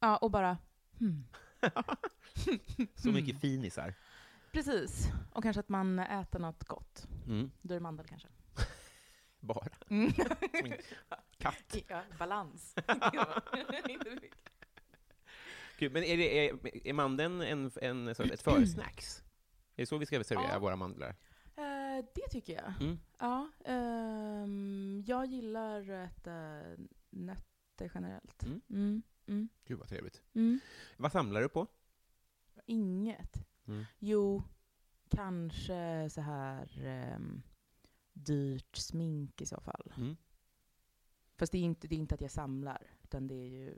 Speaker 3: ja, och bara hmm.
Speaker 2: så
Speaker 3: Mm.
Speaker 2: mycket finisar.
Speaker 3: Precis. Och kanske att man äter något gott.
Speaker 2: Mm.
Speaker 3: Då är det mandel kanske.
Speaker 2: Bara.
Speaker 3: Mm.
Speaker 2: Som en katt.
Speaker 3: ja, balans. Inte mycket.
Speaker 2: Gud, men är, det, är, är mandeln en, en, sån- ett försnacks? Är det så vi ska servera
Speaker 3: Ja.
Speaker 2: våra mandlar?
Speaker 3: Eh, det tycker jag.
Speaker 2: Mm.
Speaker 3: Ja, ehm, jag gillar att äta nötter generellt.
Speaker 2: Mm.
Speaker 3: Mm, mm,
Speaker 2: Gud vad trevligt.
Speaker 3: mm.
Speaker 2: Vad samlar du på?
Speaker 3: Inget.
Speaker 2: Mm.
Speaker 3: Jo, kanske så här ehm, dyrt smink i så fall.
Speaker 2: Mm.
Speaker 3: Fast det är, inte, det är inte att jag samlar, utan det är ju...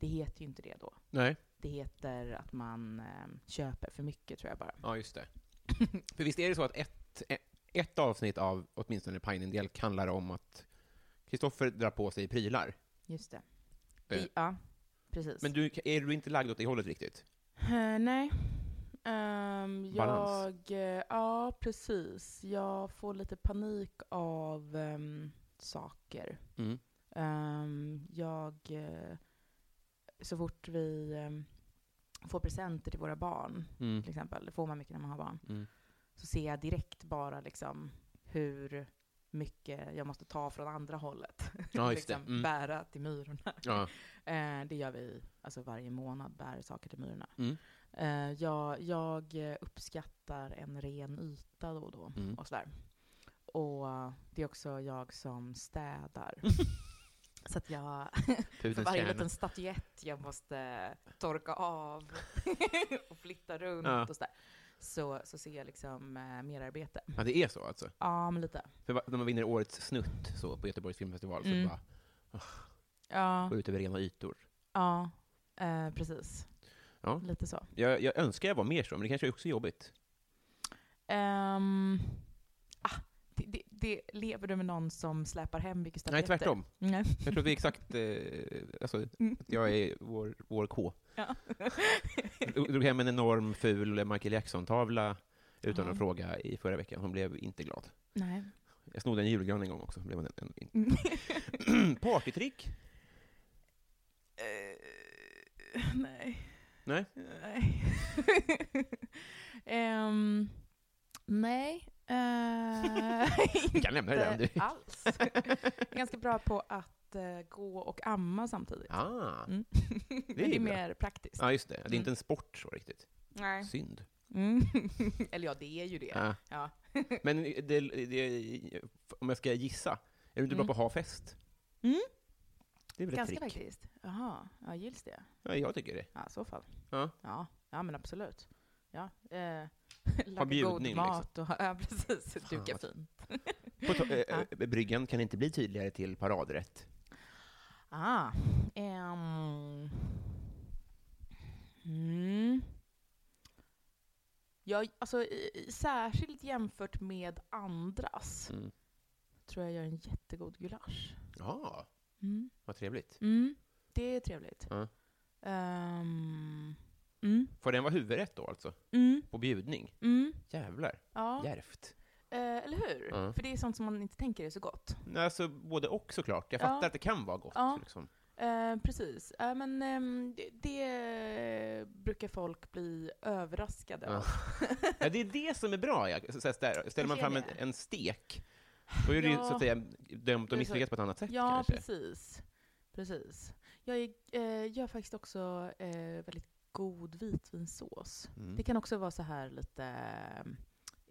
Speaker 3: Det heter ju inte det då.
Speaker 2: Nej.
Speaker 3: Det heter att man ehm, köper för mycket tror jag bara.
Speaker 2: Ja, just det. För visst är det så att ett, e- ett avsnitt av åtminstone Pine in Delk handlar om att Kristoffer drar på sig prylar.
Speaker 3: Just det.
Speaker 2: Det-
Speaker 3: I, ja, precis.
Speaker 2: Eh. Men du, är du inte lagd åt det hållet riktigt?
Speaker 3: Eh, nej. Ehm,
Speaker 2: Balans.
Speaker 3: Jag, eh, ja, precis. Jag får lite panik av ehm, saker.
Speaker 2: Mm.
Speaker 3: Ehm, jag, eh, så fort vi ehm, får presenter till våra barn,
Speaker 2: Mm.
Speaker 3: till exempel, det får man mycket när man har barn,
Speaker 2: Mm.
Speaker 3: så ser jag direkt bara liksom hur mycket jag måste ta från andra hållet.
Speaker 2: Ja, just det.
Speaker 3: liksom
Speaker 2: Mm.
Speaker 3: Bära till myrorna.
Speaker 2: Ja.
Speaker 3: Eh, det gör vi alltså varje månad, bär saker till myrorna.
Speaker 2: Mm.
Speaker 3: Eh, jag, jag eh, uppskattar en ren yta då och då.
Speaker 2: Mm.
Speaker 3: Och, sådär. och eh, det är också jag som städar.
Speaker 2: Mm.
Speaker 3: Så att jag, för
Speaker 2: Pudelns
Speaker 3: varje
Speaker 2: kärna.
Speaker 3: liten statyett jag måste torka av och flytta runt
Speaker 2: Ja.
Speaker 3: och sådär. Så, så ser jag liksom eh, merarbete.
Speaker 2: Ja, det är så alltså.
Speaker 3: Ja, men lite.
Speaker 2: För va- när man vinner årets snutt så på Göteborgs filmfestival så
Speaker 3: Mm.
Speaker 2: bara
Speaker 3: Ja,
Speaker 2: går ut över rena ytor.
Speaker 3: ja eh, precis.
Speaker 2: Ja.
Speaker 3: Lite så.
Speaker 2: Jag, jag önskar jag var mer så, men det kanske är också jobbigt.
Speaker 3: Ehm, ah, det, det, det, lever du med någon som släpar hem mycket
Speaker 2: Nej,
Speaker 3: statyetter?
Speaker 2: tvärtom.
Speaker 3: Nej.
Speaker 2: Jag tror vi är exakt... Eh, alltså, att jag är vår, vår K.
Speaker 3: Ja.
Speaker 2: Jag drog hem en enorm ful Michael Jackson-tavla utan
Speaker 3: Ja.
Speaker 2: att fråga i förra veckan. Hon blev inte glad.
Speaker 3: Nej.
Speaker 2: Jag snodde en julgran en gång också. Blev hon en, en, Partytrick?
Speaker 3: Eh, nej.
Speaker 2: Nej.
Speaker 3: Nej. Ehm, nej. eh,
Speaker 2: Vi kan lämna det där om du
Speaker 3: inte alls. Jag är ganska bra på att eh, gå och amma samtidigt.
Speaker 2: Ah,
Speaker 3: Mm. Men
Speaker 2: ju
Speaker 3: det är
Speaker 2: bra.
Speaker 3: mer praktiskt.
Speaker 2: ja, just det. Det är
Speaker 3: Mm.
Speaker 2: inte en sport så riktigt.
Speaker 3: Nej.
Speaker 2: Synd.
Speaker 3: Mm. Eller ja, det är ju det.
Speaker 2: Ja.
Speaker 3: Ja.
Speaker 2: Men det, det, om jag ska gissa, är du inte bra
Speaker 3: Mm.
Speaker 2: på att ha fest?
Speaker 3: Mm.
Speaker 2: Det är väl
Speaker 3: Ganska
Speaker 2: ett trick?
Speaker 3: faktiskt. Jaha, ja, gills det?
Speaker 2: Ja, jag tycker det.
Speaker 3: Ja, i så fall.
Speaker 2: Ja.
Speaker 3: Ja, ja men absolut. Ja, eh, laga god
Speaker 2: bjudning, liksom.
Speaker 3: mat och ja, precis, duka
Speaker 2: vad-
Speaker 3: fint.
Speaker 2: På to- eh, eh, bryggan kan inte bli tydligare till paradrätt.
Speaker 3: Ah, ehm. mm. Ja, alltså, i- i- särskilt jämfört med andras
Speaker 2: Mm.
Speaker 3: tror jag gör en jättegod gulasch.
Speaker 2: Ja,
Speaker 3: Mm.
Speaker 2: vad trevligt.
Speaker 3: Det är trevligt.
Speaker 2: Ja.
Speaker 3: Ehm, mm,
Speaker 2: Får den vara huvudrätt då alltså?
Speaker 3: mm,
Speaker 2: På bjudning?
Speaker 3: mm,
Speaker 2: Jävlar,
Speaker 3: ja.
Speaker 2: djärvt.
Speaker 3: Eh, eller hur?
Speaker 2: Ja.
Speaker 3: För det är sånt som man inte tänker är så gott.
Speaker 2: Nej, Alltså både och såklart. Jag
Speaker 3: Ja.
Speaker 2: fattar att det kan vara gott.
Speaker 3: Ja.
Speaker 2: Liksom.
Speaker 3: Eh, precis. Eh, men ehm, det, det brukar folk bli överraskade
Speaker 2: Ja.
Speaker 3: av.
Speaker 2: Ja, det är det som är bra. Jag, så, så, ställer, ställer man
Speaker 3: Kanske
Speaker 2: fram
Speaker 3: är
Speaker 2: en,
Speaker 3: det.
Speaker 2: en stek, då är det ju
Speaker 3: Ja.
Speaker 2: så att säga dömt
Speaker 3: så-
Speaker 2: att misslyckas på ett annat sätt
Speaker 3: Ja,
Speaker 2: kanske.
Speaker 3: precis. Precis. Jag är, eh, gör faktiskt också eh, väldigt god vitvinsås.
Speaker 2: Mm.
Speaker 3: Det kan också vara så här lite...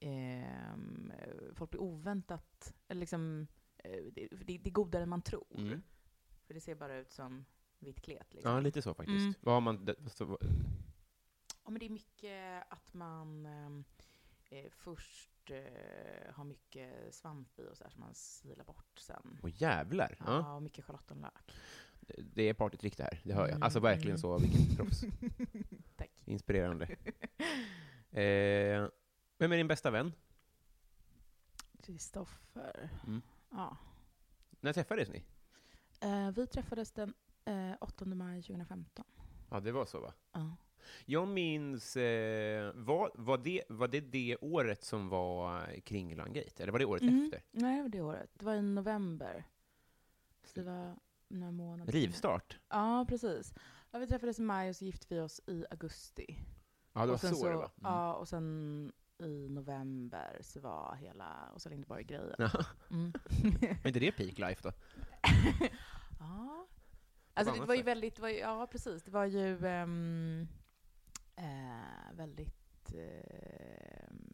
Speaker 3: ehm, eh, folk blir oväntat... Eller liksom, eh, det, det, det är godare än man tror.
Speaker 2: Mm.
Speaker 3: För det ser bara ut som vitt klet. Liksom.
Speaker 2: Ja, lite så faktiskt.
Speaker 3: Mm.
Speaker 2: Vad har man... det- så-
Speaker 3: Ja, men det är mycket att man ehm, eh, först eh, har mycket svamp i och så här som man silar bort sen.
Speaker 2: Åh jävlar! Ja.
Speaker 3: Ja, och mycket schalottenlök.
Speaker 2: Det är partytrick det här, det hör jag.
Speaker 3: Mm,
Speaker 2: Alltså verkligen
Speaker 3: mm.
Speaker 2: så, vilket proffs.
Speaker 3: Tack.
Speaker 2: Inspirerande. Eh, vem är din bästa vän?
Speaker 3: Kristoffer.
Speaker 2: Mm.
Speaker 3: Ja.
Speaker 2: När träffades ni?
Speaker 3: Eh, vi träffades den eh, 8 maj 2015.
Speaker 2: Ja, det var så va?
Speaker 3: Ja.
Speaker 2: Jag minns, eh, var, var, det, var det det året som var Kringlangate? Eller var det året
Speaker 3: Mm.
Speaker 2: efter?
Speaker 3: Nej, det var det året. Det var i november. Så det var några månader.
Speaker 2: Rivstart?
Speaker 3: Ja, precis. Ja, vi träffades i maj och så gifte vi oss i augusti.
Speaker 2: Ja, det var
Speaker 3: och sen
Speaker 2: så, det var. Mm.
Speaker 3: Ja, och sen i november så var hela Åsa Linderborg-grejen.
Speaker 2: Ja.
Speaker 3: Mm.
Speaker 2: Var inte det peak life då?
Speaker 3: ja. Alltså det
Speaker 2: annat
Speaker 3: var ju
Speaker 2: sätt.
Speaker 3: väldigt, det var ju, ja precis, det var ju ehm, eh, väldigt, ehm,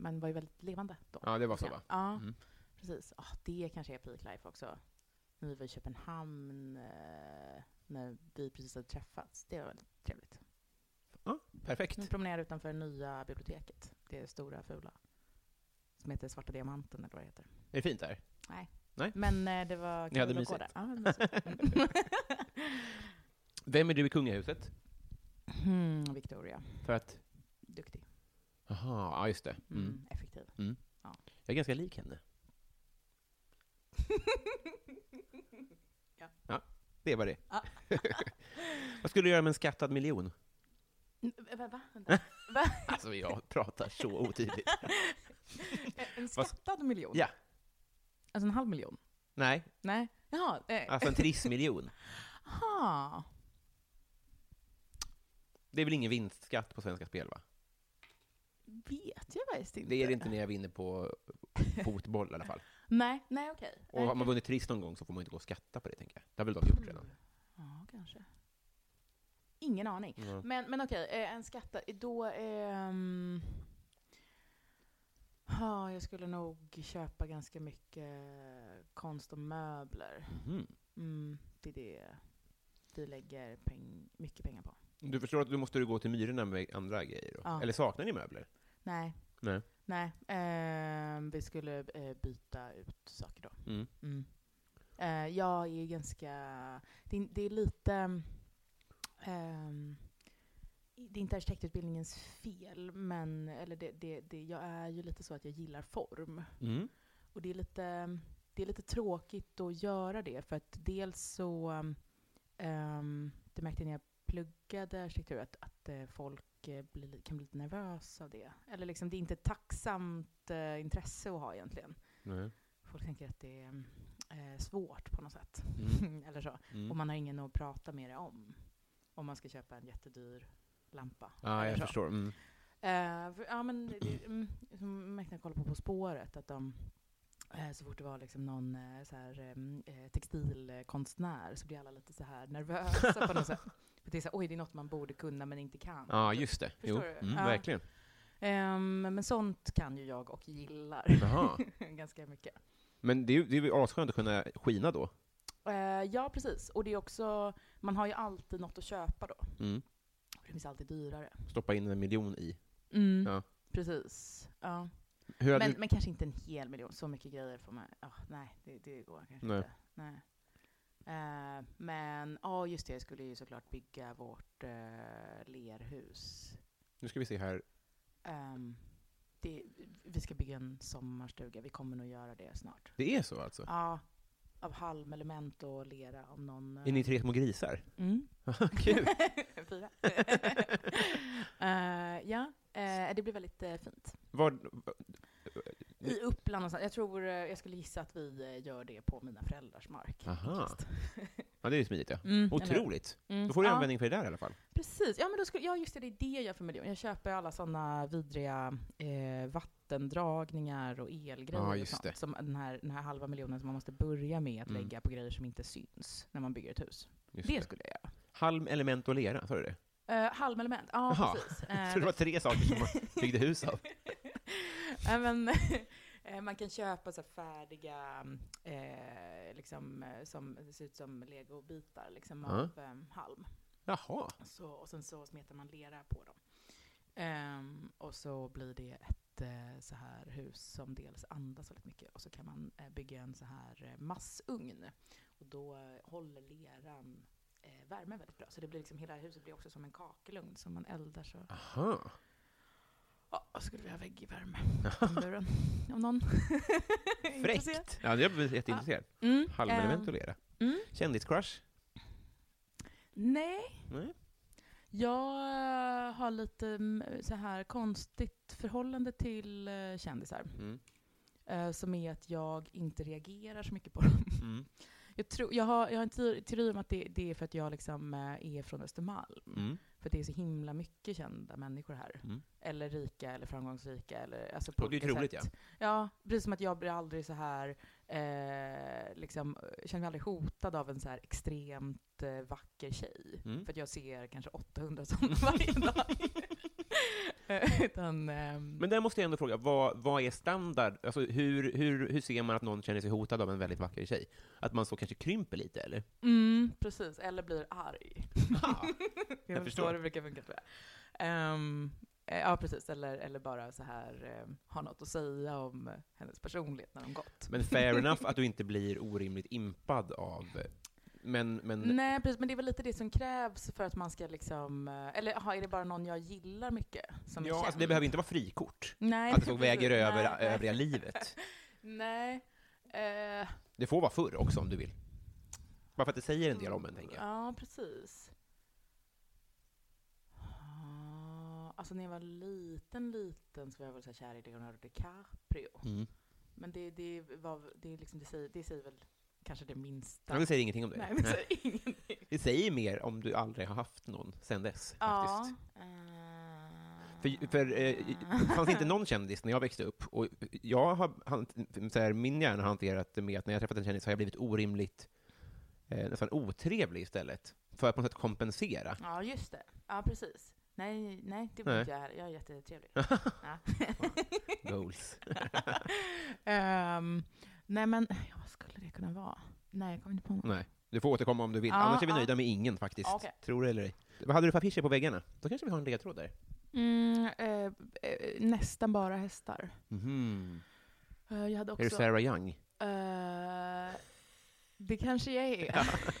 Speaker 3: man var ju väldigt levande då.
Speaker 2: Ja, det var så va?
Speaker 3: Ja,
Speaker 2: Mm.
Speaker 3: precis. Ah, det kanske är peak life också. När vi var i Köpenhamn, eh, när vi precis hade träffats. Det var väldigt trevligt.
Speaker 2: Perfekt.
Speaker 3: Vi promenerade utanför det nya biblioteket. Det stora fula. Som heter Svarta Diamanten eller vad det heter.
Speaker 2: Är det fint där?
Speaker 3: Men eh, det var
Speaker 2: Ni hade
Speaker 3: kul att gå
Speaker 2: mysigt.
Speaker 3: där. Ja, det var mysigt.
Speaker 2: Vem är du i kungahuset?
Speaker 3: Mm. Victoria.
Speaker 2: För att...
Speaker 3: Duktig.
Speaker 2: Jaha, ja just det. Mm.
Speaker 3: Mm. Effektiv.
Speaker 2: Jag är ganska lik henne.
Speaker 3: Ja.
Speaker 2: det var det.
Speaker 3: Ja.
Speaker 2: Vad skulle du göra med en skattad miljon?
Speaker 3: Mm, Va? va? Vänta. Va?
Speaker 2: Alltså, jag pratar så otydligt.
Speaker 3: En
Speaker 2: Vad-
Speaker 3: skattad miljon?
Speaker 2: Ja.
Speaker 3: Alltså en halv miljon?
Speaker 2: Nej,
Speaker 3: Nej. Jaha. eh,
Speaker 2: alltså en trissmiljon.
Speaker 3: Aha.
Speaker 2: Det är väl ingen vinstskatt på Svenska Spel, va?
Speaker 3: Vet jag faktiskt inte.
Speaker 2: Det är det inte när jag vinner på fotboll i alla fall.
Speaker 3: Nej, nej okej.
Speaker 2: Och
Speaker 3: Nej,
Speaker 2: har man
Speaker 3: okej.
Speaker 2: vunnit triss någon gång så får man inte gå och skatta på det, tänker jag. Det har väl de gjort redan?
Speaker 3: Ja, kanske. Ingen aning.
Speaker 2: Ja.
Speaker 3: Men, men okej, eh, en skatta. Då... ehm, ja, jag skulle nog köpa ganska mycket konst och möbler.
Speaker 2: Mhm.
Speaker 3: Mm, det är det vi lägger peng, mycket pengar på.
Speaker 2: Du förstår att du måste gå till Myrorna med andra grejer? Då.
Speaker 3: Ja.
Speaker 2: Eller saknar ni möbler?
Speaker 3: Nej.
Speaker 2: Nej.
Speaker 3: Nej. ehm, vi skulle eh, byta ut saker då.
Speaker 2: Mm.
Speaker 3: Mm. Eh, jag är ju ganska... Det är, det är lite... ehm, det är inte arkitektutbildningens fel, men eller det, det, det, jag är ju lite så att jag gillar form.
Speaker 2: Mm.
Speaker 3: Och det är lite, det är lite tråkigt att göra det, för att dels så... ehm, det märkte jag när jag pluggade arkitektur, att, att eh, folk eh, blir, kan bli lite nervösa av det. Eller liksom, det är inte ett tacksamt eh, intresse att ha egentligen.
Speaker 2: Nej.
Speaker 3: Folk tänker att det är eh, svårt på något sätt.
Speaker 2: Mm.
Speaker 3: Eller så. Och
Speaker 2: Mm.
Speaker 3: man har ingen att prata med det om. Om man ska köpa en jättedyr lampa.
Speaker 2: Ja,
Speaker 3: eller
Speaker 2: jag
Speaker 3: så.
Speaker 2: förstår. Mm.
Speaker 3: Eh, för, ja, men det- det, mm, som märkte när jag kollade på På spåret, att de eh, så fort det var liksom någon eh, så här, em, eh, textilkonstnär så blir alla lite så här nervösa på något sätt. För det är så här, oj, det är något man borde kunna men inte kan.
Speaker 2: Ja, just det.
Speaker 3: Förstår
Speaker 2: jo.
Speaker 3: du?
Speaker 2: Mm,
Speaker 3: Ja.
Speaker 2: Verkligen.
Speaker 3: Ehm, men sånt kan ju jag och gillar
Speaker 2: Jaha.
Speaker 3: ganska mycket.
Speaker 2: Men det är ju- det är ju asskönt att kunna skina då.
Speaker 3: Eh, ja, precis. Och det är också, man har ju alltid något att köpa då.
Speaker 2: Mm.
Speaker 3: Det finns alltid dyrare.
Speaker 2: Stoppa in en miljon i. Ja.
Speaker 3: Precis. Ja.
Speaker 2: Hur hade
Speaker 3: Mm. Men,
Speaker 2: du...
Speaker 3: men kanske inte en hel miljon, så mycket grejer får man, ja, nej, det, det går kanske
Speaker 2: Nej.
Speaker 3: inte. Nej. Eh, men, ja just det, jag skulle ju såklart bygga vårt eh, lerhus.
Speaker 2: Nu ska vi se här.
Speaker 3: Ehm, det, vi ska bygga en sommarstuga, vi kommer nog göra det snart.
Speaker 2: Det är så alltså?
Speaker 3: Ja, av halmelement och lera om någon... eh,
Speaker 2: Är ni tre små grisar?
Speaker 3: Mm.
Speaker 2: Kul!
Speaker 3: Fyra. Eh, ja, eh, det blir väldigt eh, fint.
Speaker 2: Var...
Speaker 3: I Uppland någonstans. Jag tror, eh, jag skulle gissa att vi eh, gör det på mina föräldrars mark.
Speaker 2: Aha.
Speaker 3: faktiskt.
Speaker 2: Ja, det är ju smidigt ja.
Speaker 3: Mm, eller hur?
Speaker 2: Otroligt!
Speaker 3: Mm.
Speaker 2: Då får du
Speaker 3: ja,
Speaker 2: användning för det där i alla fall.
Speaker 3: Precis. Ja, men då skulle, ja, just det, det är det jag gör för miljön. Jag köper ju alla sådana vidriga eh, vattendragningar och elgrejer
Speaker 2: Ja,
Speaker 3: och
Speaker 2: just
Speaker 3: sånt.
Speaker 2: det.
Speaker 3: Som den här, den här halva miljonen som man måste börja med att
Speaker 2: Mm.
Speaker 3: lägga på grejer som inte syns när man bygger ett hus.
Speaker 2: Just
Speaker 3: Det skulle jag göra.
Speaker 2: Halm, element och lera, sa du det?
Speaker 3: Eh, halmelement, ja
Speaker 2: Jaha.
Speaker 3: precis. Eh,
Speaker 2: Så det var tre saker som man byggde hus av?
Speaker 3: Nej, men, eh, man kan köpa så här färdiga, eh, liksom, eh, som det ser ut som legobitar liksom,
Speaker 2: Ja.
Speaker 3: av eh, halm.
Speaker 2: Jaha.
Speaker 3: Så, och sen så smetar man lera på dem. Ehm, och så blir det ett eh, så här hus som dels andas väldigt mycket och så kan man eh, bygga en så här eh, massugn. Och då eh, håller leran eh, värmen väldigt bra. Så det blir liksom, hela huset blir också som en kakelugn som man eldar så
Speaker 2: Aha.
Speaker 3: Ja, jag skulle vilja ha väggvärme i buren. Om någon intresserad.
Speaker 2: Fräckt! Ja, jag blir jätteintresserad.
Speaker 3: Mm,
Speaker 2: Halmelement
Speaker 3: ehm,
Speaker 2: och lera.
Speaker 3: mm.
Speaker 2: Kändiscrush?
Speaker 3: Nej,
Speaker 2: Nej.
Speaker 3: jag eh, har lite mm, så här konstigt förhållande till eh, kändisar.
Speaker 2: Mm.
Speaker 3: eh, Som är att jag inte reagerar så mycket på dem.
Speaker 2: Mm.
Speaker 3: Jag, tror, jag, har, jag har en teori- teori om att det, det är för att jag liksom eh, är från Östermalm.
Speaker 2: Mm.
Speaker 3: För det är så himla mycket kända människor här.
Speaker 2: Mm.
Speaker 3: Eller rika eller framgångsrika. Eller, alltså på
Speaker 2: Låter ju
Speaker 3: olika
Speaker 2: troligt,
Speaker 3: sätt.
Speaker 2: ja.
Speaker 3: Ja, precis som att jag blir aldrig så här, eh, liksom, eh, känner mig aldrig hotad av en så här extremt eh, vacker tjej.
Speaker 2: Mm.
Speaker 3: För att jag ser kanske 800 sådana varje dag. Eh, Utan, ehm,
Speaker 2: Men där måste jag ändå fråga, vad, vad är standard? Alltså, hur, hur, hur ser man att någon känner sig hotad av en väldigt vacker tjej? Att man så kanske krymper lite, eller?
Speaker 3: mm, precis, eller blir arg.
Speaker 2: Ah,
Speaker 3: Jag,
Speaker 2: förstår.
Speaker 3: förstår hur det brukar funka tror jag. Ehm, eh, ja, precis, eller, eller bara så här, eh, ha något att säga om eh, hennes personlighet när hon gått.
Speaker 2: Men fair enough att du inte blir orimligt impad av... Men, men...
Speaker 3: Nej, precis. Men det är väl lite det som krävs för att man ska liksom... eh, Eller aha, är det bara någon jag gillar mycket som är
Speaker 2: ja,
Speaker 3: känd?
Speaker 2: alltså, det behöver inte vara frikort.
Speaker 3: Nej,
Speaker 2: att det så väger
Speaker 3: precis.
Speaker 2: över
Speaker 3: Nej,
Speaker 2: övriga
Speaker 3: nej.
Speaker 2: livet.
Speaker 3: Nej. Eh,
Speaker 2: Det får vara förr också om du vill. Bara för att det säger en del om en, tänker jag.
Speaker 3: Ja, precis. Ah, Alltså när jag var liten, liten så var jag väl så här kär i Leonardo DiCaprio.
Speaker 2: Mm.
Speaker 3: Men det, det, var, det, är liksom, det, säger, det säger väl kanske det minsta.
Speaker 2: Men det säger ingenting om dig.
Speaker 3: Nej, men det säger ingenting.
Speaker 2: Det säger mer om du aldrig har haft någon sen dess,
Speaker 3: Ja.
Speaker 2: faktiskt. För, för eh, det fanns inte någon kändis när jag växte upp, och jag har, han, så här, min hjärna har hanterat det med att när jag träffat en kändis har jag blivit orimligt, eh, nästan otrevlig istället, för att på något sätt kompensera.
Speaker 3: Ja, just det. Ja, precis. Nej, nej, det var
Speaker 2: Nej.
Speaker 3: inte jag här. Jag är jättetrevlig. ja.
Speaker 2: Goals.
Speaker 3: Ehm, nej, men ja, vad skulle det kunna vara? Nej, jag kommer inte på något.
Speaker 2: Nej, du får återkomma om du vill,
Speaker 3: Ja,
Speaker 2: annars är vi
Speaker 3: ja.
Speaker 2: nöjda med ingen faktiskt.
Speaker 3: Ja, okej.
Speaker 2: Tror det eller ej. Vad hade du för affischer på väggarna? Då kanske vi har en ledtråd där.
Speaker 3: Mm, eh, eh, nästan bara hästar.
Speaker 2: Mhm.
Speaker 3: Eh, jag hade
Speaker 2: Är du
Speaker 3: också...
Speaker 2: Sarah Young?
Speaker 3: eh, det kanske jag är.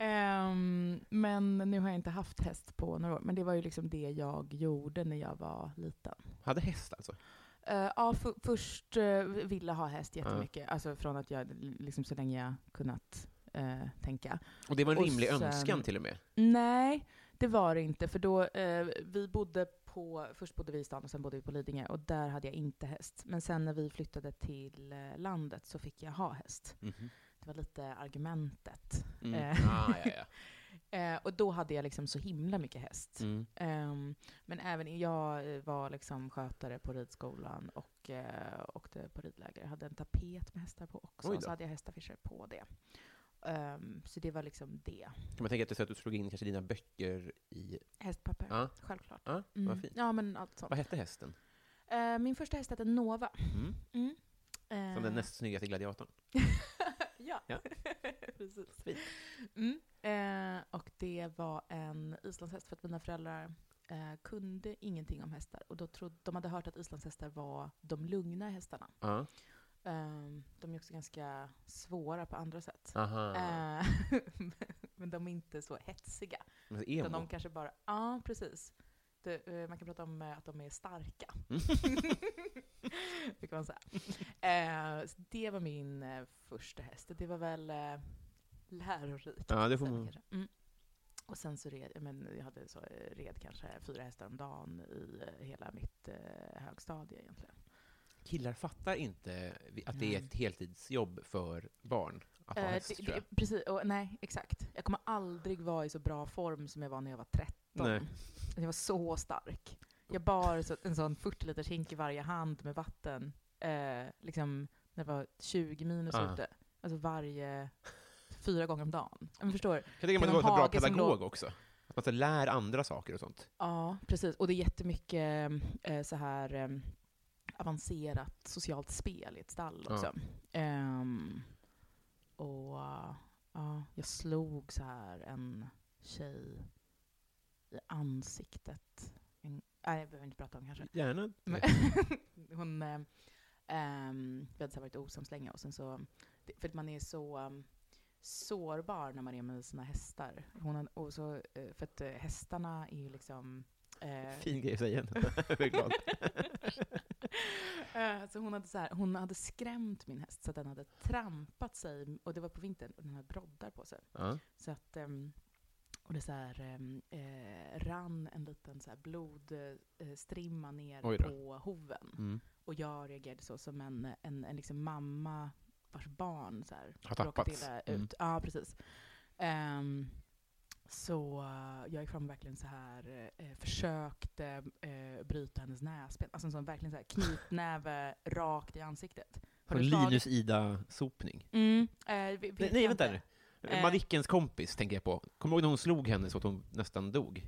Speaker 3: Ehm, men nu har jag inte haft häst på några år. Men det var ju liksom det jag gjorde när jag var liten.
Speaker 2: Hade häst alltså?
Speaker 3: Eh, ja, fu- först eh, ville ha häst jättemycket. Alltså från att jag, liksom så länge jag kunnat eh, tänka.
Speaker 2: Och det var en
Speaker 3: Och
Speaker 2: rimlig
Speaker 3: sen-
Speaker 2: önskan till och med.
Speaker 3: Nej, det var det inte. För då, eh, vi bodde på, först bodde vi i stan och sen bodde vi på Lidingö. Och där hade jag inte häst. Men sen när vi flyttade till eh, landet så fick jag ha häst.
Speaker 2: Mhm.
Speaker 3: Det var lite argumentet.
Speaker 2: Mm.
Speaker 3: Eh.
Speaker 2: Ah, ja, ja.
Speaker 3: Eh, och då hade jag liksom så himla mycket häst.
Speaker 2: Mm.
Speaker 3: Ehm, men även jag eh, var liksom skötare på ridskolan och eh, åkte på ridläger. Jag hade en tapet med hästar på också,
Speaker 2: Oj
Speaker 3: och så
Speaker 2: då.
Speaker 3: hade jag hästaffischer på det. Ehm, så det var liksom det.
Speaker 2: Kan man tänka att du, så att du slog in kanske dina böcker i...
Speaker 3: Hästpapper,
Speaker 2: Ja.
Speaker 3: självklart.
Speaker 2: Ja,
Speaker 3: Mm.
Speaker 2: vad fint.
Speaker 3: Ja, men allt sånt.
Speaker 2: Vad hette hästen?
Speaker 3: Eh, min första häst hette Nova.
Speaker 2: Mm.
Speaker 3: Mm.
Speaker 2: Som den näst snyggaste gladiatorn.
Speaker 3: ja,
Speaker 2: Ja.
Speaker 3: precis. Fint. Mm. Eh, och det var en islandshäst för att mina föräldrar eh, kunde ingenting om hästar. Och då trodde, de hade hört att islandshästar var de lugna hästarna.
Speaker 2: Ja.
Speaker 3: Eh, de är också ganska svåra på andra sätt.
Speaker 2: Aha.
Speaker 3: Eh, men de är inte så hetsiga.
Speaker 2: Men
Speaker 3: Utan
Speaker 2: Emo.
Speaker 3: de kanske bara, ja precis. Det, eh, man kan prata om eh, att de är starka. det kan man säga. Eh, så det var min eh, första häst. Det var väl eh, lärorikt.
Speaker 2: Ja, det får
Speaker 3: sen
Speaker 2: man-
Speaker 3: kanske. Mm. Och sen så red jag, men jag hade så, eh, red kanske fyra hästar om dagen i eh, hela mitt eh, högstadie egentligen.
Speaker 2: Killar fattar inte vi- att det är
Speaker 3: Nej.
Speaker 2: ett heltidsjobb för barn att ha
Speaker 3: Eh,
Speaker 2: häst,
Speaker 3: det,
Speaker 2: tror jag.
Speaker 3: det, precis, och, nej exakt. Jag kommer aldrig vara i så bra form som jag var när jag var 13.
Speaker 2: Nej.
Speaker 3: Jag var så stark. Jag bar så, en sån 40 liters hink i varje hand med vatten, eh, liksom när det var 20 minus
Speaker 2: Ah.
Speaker 3: ute. Alltså varje, fyra gånger om dagen. Men förstår du?
Speaker 2: Jag tänker att man
Speaker 3: det
Speaker 2: ska
Speaker 3: var
Speaker 2: vara en bra
Speaker 3: Hage som
Speaker 2: pedagog
Speaker 3: låg-
Speaker 2: också. Att man så lär andra saker och sånt.
Speaker 3: Ja, precis. Och det är jättemycket eh, så här eh, avancerat socialt spel i ett stall
Speaker 2: Ja.
Speaker 3: också. Ehm, och ja, jag slog så här en tjej i ansiktet. En, nej, jag behöver inte prata om kanske.
Speaker 2: Gärna.
Speaker 3: Men- hon, eh, ehm, vi hade så här varit osams länge och sen så, det- för att man är så ehm, sårbar när man är med sina hästar. Hon, hade- och så, eh, för att eh, hästarna är ju liksom eh,
Speaker 2: Fin grej att säga. jag är glad.
Speaker 3: Eh, så hon, hade så här, hon hade skrämt min häst så att den hade trampat sig, och det var på vintern, och den hade broddar på sig.
Speaker 2: Ja.
Speaker 3: Så att, ehm, och det så här, ehm, eh, rann en liten så här blodstrimma
Speaker 2: Oj
Speaker 3: ner
Speaker 2: då.
Speaker 3: på hoven.
Speaker 2: Mm.
Speaker 3: Och jag reagerade så som en, en, en liksom mamma vars barn så här,
Speaker 2: Har
Speaker 3: råkat
Speaker 2: tappats.
Speaker 3: illa ut.
Speaker 2: Mm.
Speaker 3: Ja, precis. Ehm, så eh, jag gick fram och verkligen så här, eh, försökte eh, bryta hennes näsben. Alltså en sån, verkligen så här knytnäve rakt i ansiktet. Har
Speaker 2: Som
Speaker 3: du slagit-
Speaker 2: Linus Ida-sopning.
Speaker 3: Mm, eh, vi-
Speaker 2: Nej,
Speaker 3: vet
Speaker 2: nej
Speaker 3: jag
Speaker 2: vänta
Speaker 3: inte.
Speaker 2: nu.
Speaker 3: Eh.
Speaker 2: Madickens kompis tänker jag på. Kommer du ihåg när hon slog henne så att hon nästan dog?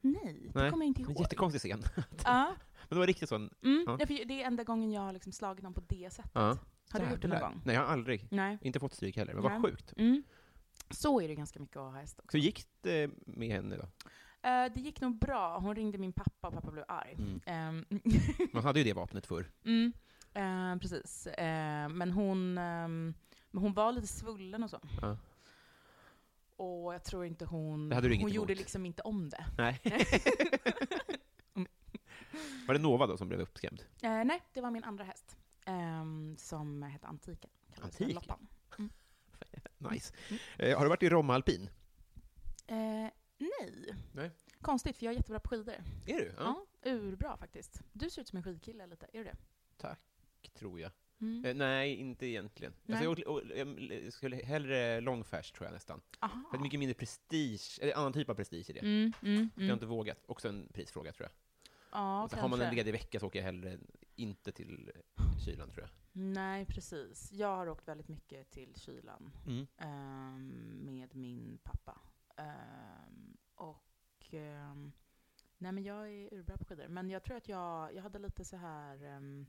Speaker 3: Nej, det
Speaker 2: Nej,
Speaker 3: kommer jag inte
Speaker 2: En
Speaker 3: ihåg.
Speaker 2: jättekonstig scen. Men
Speaker 3: Ja,
Speaker 2: det var riktigt sån...
Speaker 3: mm,
Speaker 2: Ja.
Speaker 3: ja. för Det är enda gången jag har liksom slagit någon på det sättet.
Speaker 2: Ja.
Speaker 3: Har du gjort det någon
Speaker 2: Jävlar.
Speaker 3: gång?
Speaker 2: Nej, jag har aldrig.
Speaker 3: Nej.
Speaker 2: Inte fått stryk heller, men vad
Speaker 3: Nej.
Speaker 2: sjukt.
Speaker 3: Mm. Så är det ganska mycket att ha häst också.
Speaker 2: Så gick det med henne då?
Speaker 3: Eh, det gick nog bra. Hon ringde min pappa och pappa blev arg.
Speaker 2: Mm.
Speaker 3: Ehm,
Speaker 2: Man hade ju det vapnet förr.
Speaker 3: mm, eh, precis. Eh, men hon, ehm, men hon var lite svullen och så.
Speaker 2: Ja.
Speaker 3: Och jag tror inte hon...
Speaker 2: Det hade du inget
Speaker 3: hon gjorde
Speaker 2: emot.
Speaker 3: liksom inte om det.
Speaker 2: Nej. Var det Nova då som blev uppskrämd?
Speaker 3: Eh, nej, det var min andra häst. ehm, som hette Antiken. Kallades för
Speaker 2: Antiken?
Speaker 3: Loppan.
Speaker 2: Nice. Eh, har du varit i Romma Alpin?
Speaker 3: Eh, nej.
Speaker 2: Nej.
Speaker 3: Konstigt, för jag är jättebra på skidor.
Speaker 2: Är du? Ja,
Speaker 3: Ja, urbra faktiskt. Du ser ut som en skidkille lite, är du det?
Speaker 2: tror jag.
Speaker 3: Mm.
Speaker 2: Eh, nej, inte egentligen.
Speaker 3: Nej.
Speaker 2: Alltså, jag, åt- jag, jag skulle hellre långfärs, tror jag nästan.
Speaker 3: Aha.
Speaker 2: För det är mycket mindre prestige, eller annan typ av prestige i det.
Speaker 3: Mm, mm,
Speaker 2: Jag har
Speaker 3: mm.
Speaker 2: inte vågat. Också en prisfråga, tror jag.
Speaker 3: Ja,
Speaker 2: Alltså, har man en
Speaker 3: kanske.
Speaker 2: ledig vecka så åker jag hellre inte till eh, kylan, tror jag.
Speaker 3: Nej, precis. Jag har åkt väldigt mycket till kylan
Speaker 2: Mm.
Speaker 3: ehm, med min pappa. Ehm, och... ehm, nej, men jag är urbra på skidor. Men jag tror att jag, jag hade lite så här... ehm,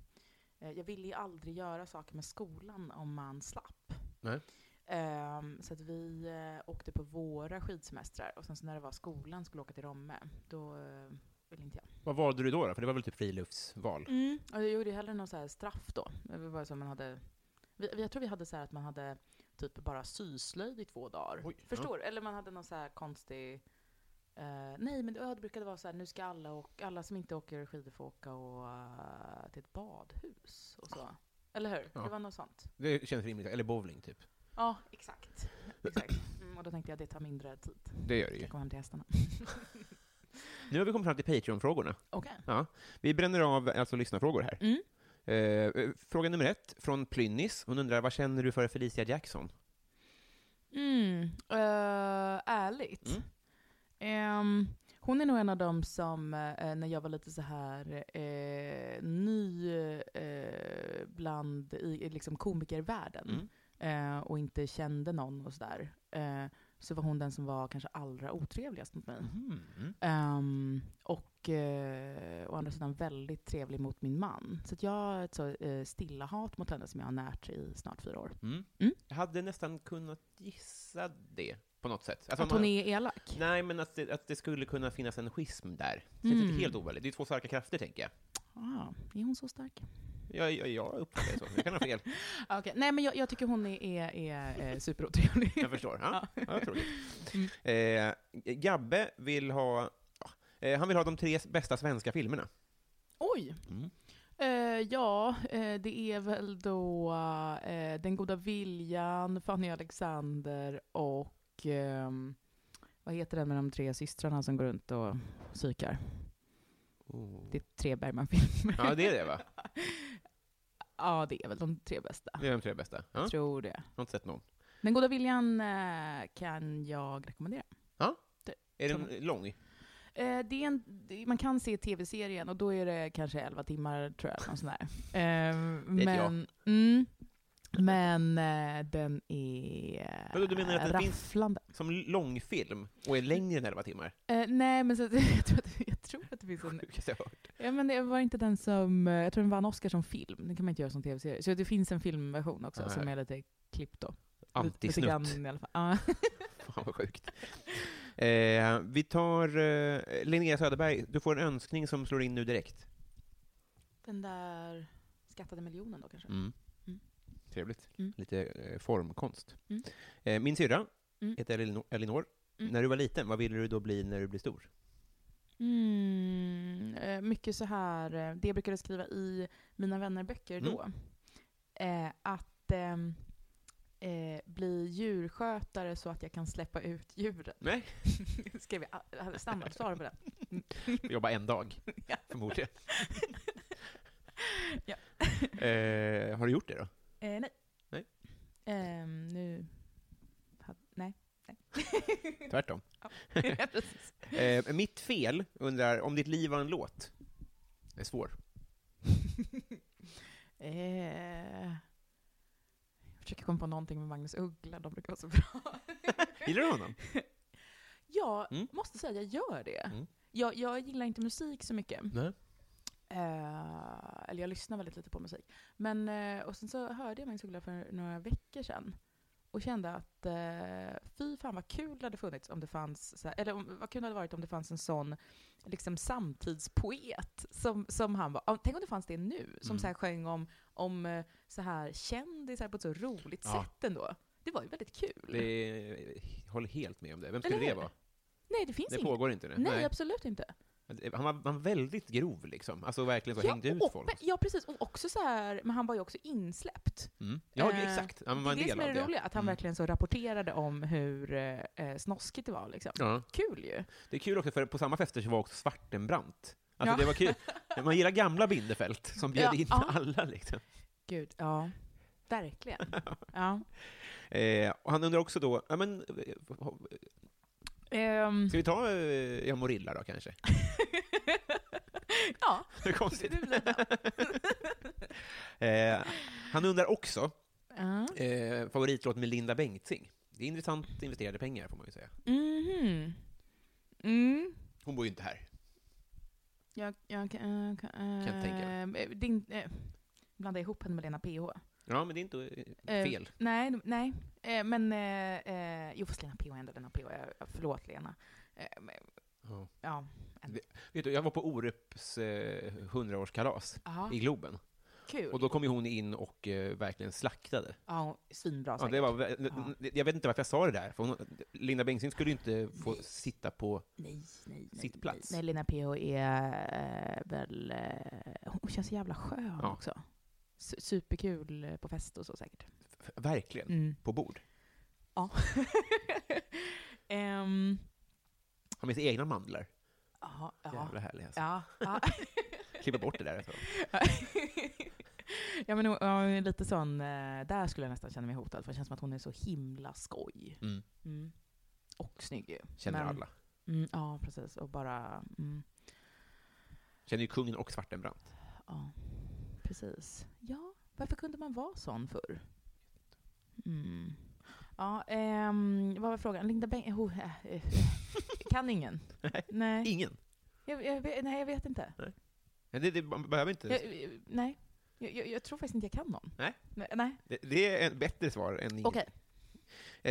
Speaker 3: eh, jag ville ju aldrig göra saker med skolan om man slapp.
Speaker 2: Nej.
Speaker 3: Ehm, så att vi eh, åkte på våra skidsemestrar och sen så när det var skolan skulle åka till Romme, då eh, ville inte jag.
Speaker 2: Vad valde du då, då? För det var väl typ friluftsval?
Speaker 3: Mm. Och jag gjorde ju hellre någon så här straff då. Det var bara så man hade, vi, vi- jag tror vi hade så här att man hade typ bara syslöjd i två dagar.
Speaker 2: Oj,
Speaker 3: Förstår du? Eller man hade någon så här konstig... eh, nej, men det, ja, det brukade vara så här, nu ska alla, och, alla som inte åker skidor få åka och, eh, till ett badhus och så. Eller hur?
Speaker 2: Ja.
Speaker 3: Det var något sånt.
Speaker 2: Det känns rimligt. Eller bowling, typ.
Speaker 3: Ja, exakt. exakt. Mm, och då tänkte jag det tar mindre tid.
Speaker 2: Det gör det ju.
Speaker 3: Jag kommer hem till hästarna.
Speaker 2: Nu har vi kommit fram till Patreon-frågorna.
Speaker 3: Okej.
Speaker 2: Vi bränner av alltså lyssnarfrågor här.
Speaker 3: Mm.
Speaker 2: Eh, eh, fråga nummer ett, från Plynnis. Hon undrar, vad känner du för Felicia Jackson?
Speaker 3: Mm, eh, ärligt.
Speaker 2: Mm.
Speaker 3: Ehm, hon är nog en av dem som, eh, när jag var lite så här eh, ny eh, bland i, i liksom komikervärlden,
Speaker 2: Mm.
Speaker 3: eh, och inte kände någon och sådär, eh, så var hon den som var kanske allra otrevligast mot mig.
Speaker 2: Mhm.
Speaker 3: Ehm, och eh, å andra sidan väldigt trevlig mot min man. Så att jag har ett så, eh, stilla hat mot henne som jag har närt i snart fyra år.
Speaker 2: Mm.
Speaker 3: Mm.
Speaker 2: Jag hade nästan kunnat gissa det på något sätt. Alltså,
Speaker 3: Att
Speaker 2: man-
Speaker 3: hon är elak?
Speaker 2: Nej, men att det, att det skulle kunna finnas en schism där. Så det är
Speaker 3: Mm.
Speaker 2: inte helt ovanligt. Det är två starka krafter, tänker jag.
Speaker 3: Ah, är hon så stark?
Speaker 2: Jag, jag, jag uppfattar det så. Jag kan ha fel.
Speaker 3: Ah, Okej, Nej, men jag, jag tycker hon är, är, är eh, superotrevlig.
Speaker 2: Jag förstår. Ja, ja. jag tror
Speaker 3: Mm.
Speaker 2: det. Eh, Gabbe vill ha... ja, eh, Han vill ha de tre bästa svenska filmerna.
Speaker 3: Oj!
Speaker 2: Mm.
Speaker 3: Eh, ja, eh, det är väl då eh, Den goda viljan, Fanny Alexander och ehm, vad heter den med de tre systrarna som går runt och psykar?
Speaker 2: Oh.
Speaker 3: Det är tre Bergman-filmer.
Speaker 2: Ja, det är det, va?
Speaker 3: Ja, det är väl de tre bästa.
Speaker 2: Det är de tre bästa. Ja,
Speaker 3: Jag
Speaker 2: jag
Speaker 3: tror det.
Speaker 2: har inte sett någon.
Speaker 3: Den goda viljan eh, kan jag rekommendera.
Speaker 2: Är
Speaker 3: Tror
Speaker 2: den lång?
Speaker 3: Eh, det är en, det- man kan se tv-serien och då är det kanske 11 timmar tror jag. Någon sån där. Eh,
Speaker 2: Vet
Speaker 3: men mm, men eh, den är eh,
Speaker 2: Vadå, du menar att den finns-
Speaker 3: rafflande.
Speaker 2: Som långfilm och är längre än 11 timmar?
Speaker 3: Eh, nej, men så, att- jag, tror att, jag tror att det finns en...
Speaker 2: Sjukaste jag har hört.
Speaker 3: Ja, men det var inte den som... eh, Jag tror den vann Oscar som film. Den kan man inte göra som tv-serie. Så det finns en filmversion också
Speaker 2: Nej.
Speaker 3: som är lite klippt då. Lite- lite
Speaker 2: Antisnutt.
Speaker 3: grann i alla fall. Ja.
Speaker 2: Fan vad sjukt. Eh, vi tar eh, Linnea Söderberg, du får en önskning som slår in nu direkt.
Speaker 3: Den där skattade miljonen då kanske? Mm.
Speaker 2: Trevligt.
Speaker 3: Mm.
Speaker 2: Lite eh, formkonst.
Speaker 3: Mm.
Speaker 2: Eh, min syrra
Speaker 3: Mm.
Speaker 2: heter Elinor. Elinor.
Speaker 3: Mm.
Speaker 2: När du var liten, vad ville du då bli när du blev stor?
Speaker 3: Mm, eh, mycket så här, eh, det jag brukade skriva i mina vännerböcker
Speaker 2: Mm.
Speaker 3: då. Eh, att ehm, eh, bli djurskötare så att jag kan släppa ut djuren.
Speaker 2: Nej.
Speaker 3: Skrev jag, jag hade standardsvar på den.
Speaker 2: Jobba en dag,
Speaker 3: Ja.
Speaker 2: förmodligen.
Speaker 3: Ja.
Speaker 2: eh, har du gjort det då?
Speaker 3: Eh, nej.
Speaker 2: Nej.
Speaker 3: Ehm, nu... ha- Nej.
Speaker 2: Tvärtom.
Speaker 3: Precis.
Speaker 2: Eh, mitt fel undrar om ditt liv var en låt. Det är svår.
Speaker 3: eh, jag försöker komma på någonting med Magnus Uggla, de brukar vara så bra.
Speaker 2: Gillar du honom?
Speaker 3: Jag
Speaker 2: Mm.
Speaker 3: måste säga, jag gör det.
Speaker 2: Mm.
Speaker 3: Jag, jag gillar inte musik så mycket.
Speaker 2: Nej.
Speaker 3: Eh, eller jag lyssnar väldigt lite på musik. Men, eh, och sen så hörde jag Magnus Uggla för några veckor sedan. Och kände att eh, fy fan vad kul det hade funnits om det fanns, så här, eller om, vad kul det hade varit om det fanns en sån liksom, samtidspoet som, som han var. Ja, Tänk om det fanns det nu, som
Speaker 2: Mm.
Speaker 3: så här, sjöng om, om eh, så här, kändisar på ett så roligt
Speaker 2: Ja.
Speaker 3: sätt ändå. Det var ju väldigt kul.
Speaker 2: Det är, eh, håller helt med om det. Vem skulle
Speaker 3: Eller
Speaker 2: det
Speaker 3: hur?
Speaker 2: vara?
Speaker 3: Nej, det finns
Speaker 2: Det
Speaker 3: inget.
Speaker 2: pågår inte nu.
Speaker 3: Nej, absolut inte.
Speaker 2: Han var, han var väldigt grov liksom, alltså verkligen så hängde ut
Speaker 3: och,
Speaker 2: folk.
Speaker 3: Ja, precis. Och också så här, men han var ju också insläppt.
Speaker 2: Mm. Ja,
Speaker 3: Eh,
Speaker 2: exakt. Han
Speaker 3: det
Speaker 2: var
Speaker 3: är
Speaker 2: en
Speaker 3: det som
Speaker 2: del
Speaker 3: är
Speaker 2: av
Speaker 3: det
Speaker 2: det.
Speaker 3: roliga, att han
Speaker 2: Mm.
Speaker 3: verkligen så rapporterade om hur eh, eh, snoskigt det var. Liksom.
Speaker 2: Ja.
Speaker 3: Kul ju.
Speaker 2: Det är kul också, för på samma fester så var också Svartenbrandt. Alltså
Speaker 3: Ja.
Speaker 2: det var kul. Man gillar gamla Bindefält som bjöd
Speaker 3: Ja,
Speaker 2: in
Speaker 3: ja.
Speaker 2: alla liksom.
Speaker 3: Gud, ja. Verkligen. Ja.
Speaker 2: Eh, och han undrar också då, ja, men, eh,
Speaker 3: Ehm,
Speaker 2: ska vi ta eh, Jag Morilla då kanske?
Speaker 3: ja,
Speaker 2: Hur
Speaker 3: det
Speaker 2: konstigt.
Speaker 3: blir bra.
Speaker 2: Eh, han undrar också,
Speaker 3: Ja.
Speaker 2: eh, favoritlåt med Linda Bengtzing. Det är intressant investerade pengar får man ju säga.
Speaker 3: Mhm. Mm.
Speaker 2: Hon bor ju inte här.
Speaker 3: Jag, jag kan... eh, kan- eh,
Speaker 2: Kan tänka
Speaker 3: eh, din, eh, blanda ihop henne med Lena PH.
Speaker 2: Ja, men det är inte eh,
Speaker 3: Eh,
Speaker 2: fel.
Speaker 3: Nej, nej. Eh, men... Eh, eh, jo, fast Lena PH är ändå Lena PH. Jag- Förlåt, Lena. Eh, men,
Speaker 2: Ja.
Speaker 3: ja.
Speaker 2: Vet du, jag var på Orups eh, 100-årskalas
Speaker 3: Aha.
Speaker 2: i Globen.
Speaker 3: Kul.
Speaker 2: Och då kom ju hon in och eh, verkligen slaktade.
Speaker 3: Ja, svinbra
Speaker 2: Ja,
Speaker 3: säkert.
Speaker 2: det var, vä- Jag vet inte varför jag sa det där, för hon, Linda Bengtzing skulle ju inte få sitta på...
Speaker 3: Nej, nej, nej.
Speaker 2: Sitt plats.
Speaker 3: Nej, Lina PH är eh, väl... Eh, hon känns så jävla skön
Speaker 2: Ja.
Speaker 3: också. Su- superkul eh, på fest och så säkert.
Speaker 2: f- Verkligen.
Speaker 3: Mm.
Speaker 2: På bord.
Speaker 3: Ja. Mm. Ehm,
Speaker 2: Har med sig egna mandlar.
Speaker 3: ja, ja.
Speaker 2: Jävla härlig alltså.
Speaker 3: Ja, ja.
Speaker 2: Klippa bort det där. Alltså.
Speaker 3: ja, men hon hon är lite sån, eh, där skulle jag nästan känna mig hotad, för det känns som att hon är så himla skoj.
Speaker 2: Mm.
Speaker 3: Mm. Och snygg ju.
Speaker 2: Känner
Speaker 3: Men-
Speaker 2: alla.
Speaker 3: Mm, ja, precis. Och bara... Mm,
Speaker 2: Känner ju kungen och Svartenbrandt.
Speaker 3: Ja, precis. Ja, varför kunde man vara sån förr? Mm. Ja, ehm, vad var frågan? Linda Beng... Oh, eh, eh, kan ingen.
Speaker 2: Nej.
Speaker 3: Nej.
Speaker 2: Ingen?
Speaker 3: Jag, jag, vet- nej, jag vet inte.
Speaker 2: Men Det, det man behöver inte.
Speaker 3: Jag, eh, nej. Jag, jag, jag tror faktiskt inte jag kan någon.
Speaker 2: Nej.
Speaker 3: Nej. nej.
Speaker 2: Det, det är ett bättre svar än ingen.
Speaker 3: Okej.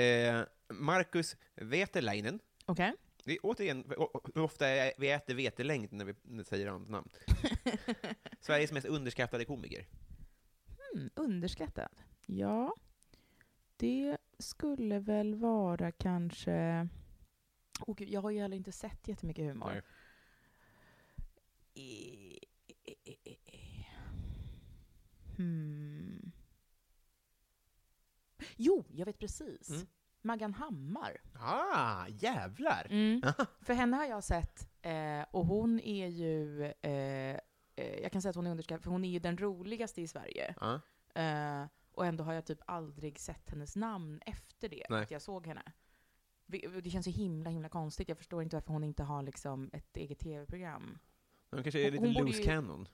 Speaker 2: Eh, Marcus Vetelainen.
Speaker 3: Okej.
Speaker 2: Det är återigen o- o- hur ofta är- vi äter vetelängd när vi när vi säger hans namn. Sveriges mest underskattade komiker.
Speaker 3: Mm, underskattad. Ja. Det skulle väl vara kanske... Åh gud, jag har ju heller inte sett jättemycket humor.
Speaker 2: Nej.
Speaker 3: Eh, eh, eh, eh, eh. Hmm. Jo, jag vet precis.
Speaker 2: Mm.
Speaker 3: Maggan Hammar.
Speaker 2: Ah, jävlar!
Speaker 3: För henne har jag sett, eh, och hon är ju... Eh, eh, jag kan säga att hon är underskattad, för hon är ju den roligaste i Sverige.
Speaker 2: Ja.
Speaker 3: Eh, och ändå har jag typ aldrig sett hennes namn efter det,
Speaker 2: Nej.
Speaker 3: att jag såg henne. Vi- Det känns så himla, himla konstigt. Jag förstår inte varför hon inte har liksom ett eget tv-program.
Speaker 2: De kanske är lite
Speaker 3: Hon borde
Speaker 2: loose
Speaker 3: ju-
Speaker 2: cannon.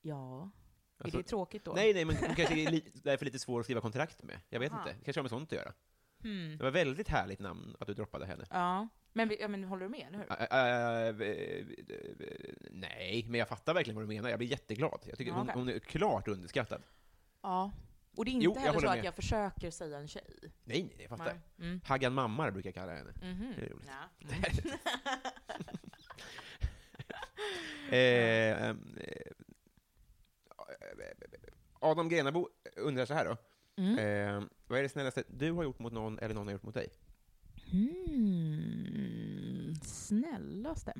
Speaker 3: Ja,
Speaker 2: Alltså-
Speaker 3: är det tråkigt då?
Speaker 2: Nej, nej, men hon kanske är li- därför lite svår att skriva kontrakt med. Jag vet
Speaker 3: Aha.
Speaker 2: inte. Det kanske har med sånt att göra.
Speaker 3: Hmm.
Speaker 2: Det var väldigt härligt namn att du droppade henne.
Speaker 3: Ja, men, vi- ja, men håller du med, eller hur?
Speaker 2: Ä- ä- äh, eh, eh, nej, men jag fattar verkligen vad du menar. Jag blir jätteglad. Jag tycker
Speaker 3: Ja,
Speaker 2: hon,
Speaker 3: okej.
Speaker 2: hon är klart underskattad.
Speaker 3: Ja. Och det är inte
Speaker 2: Jo, jag
Speaker 3: heller så
Speaker 2: håller
Speaker 3: att
Speaker 2: med.
Speaker 3: jag försöker säga en tjej.
Speaker 2: Nej, nej, jag fattar.
Speaker 3: Nej. Mm.
Speaker 2: Haggan Mammar brukar jag kalla henne.
Speaker 3: Mhm.
Speaker 2: Det är roligt.
Speaker 3: Ja.
Speaker 2: Eh, ehm, eh, Adam Grenabo undrar så här då.
Speaker 3: Mm.
Speaker 2: Eh, vad är det snällaste du har gjort mot någon eller någon har gjort mot dig?
Speaker 3: Mm. Snällaste.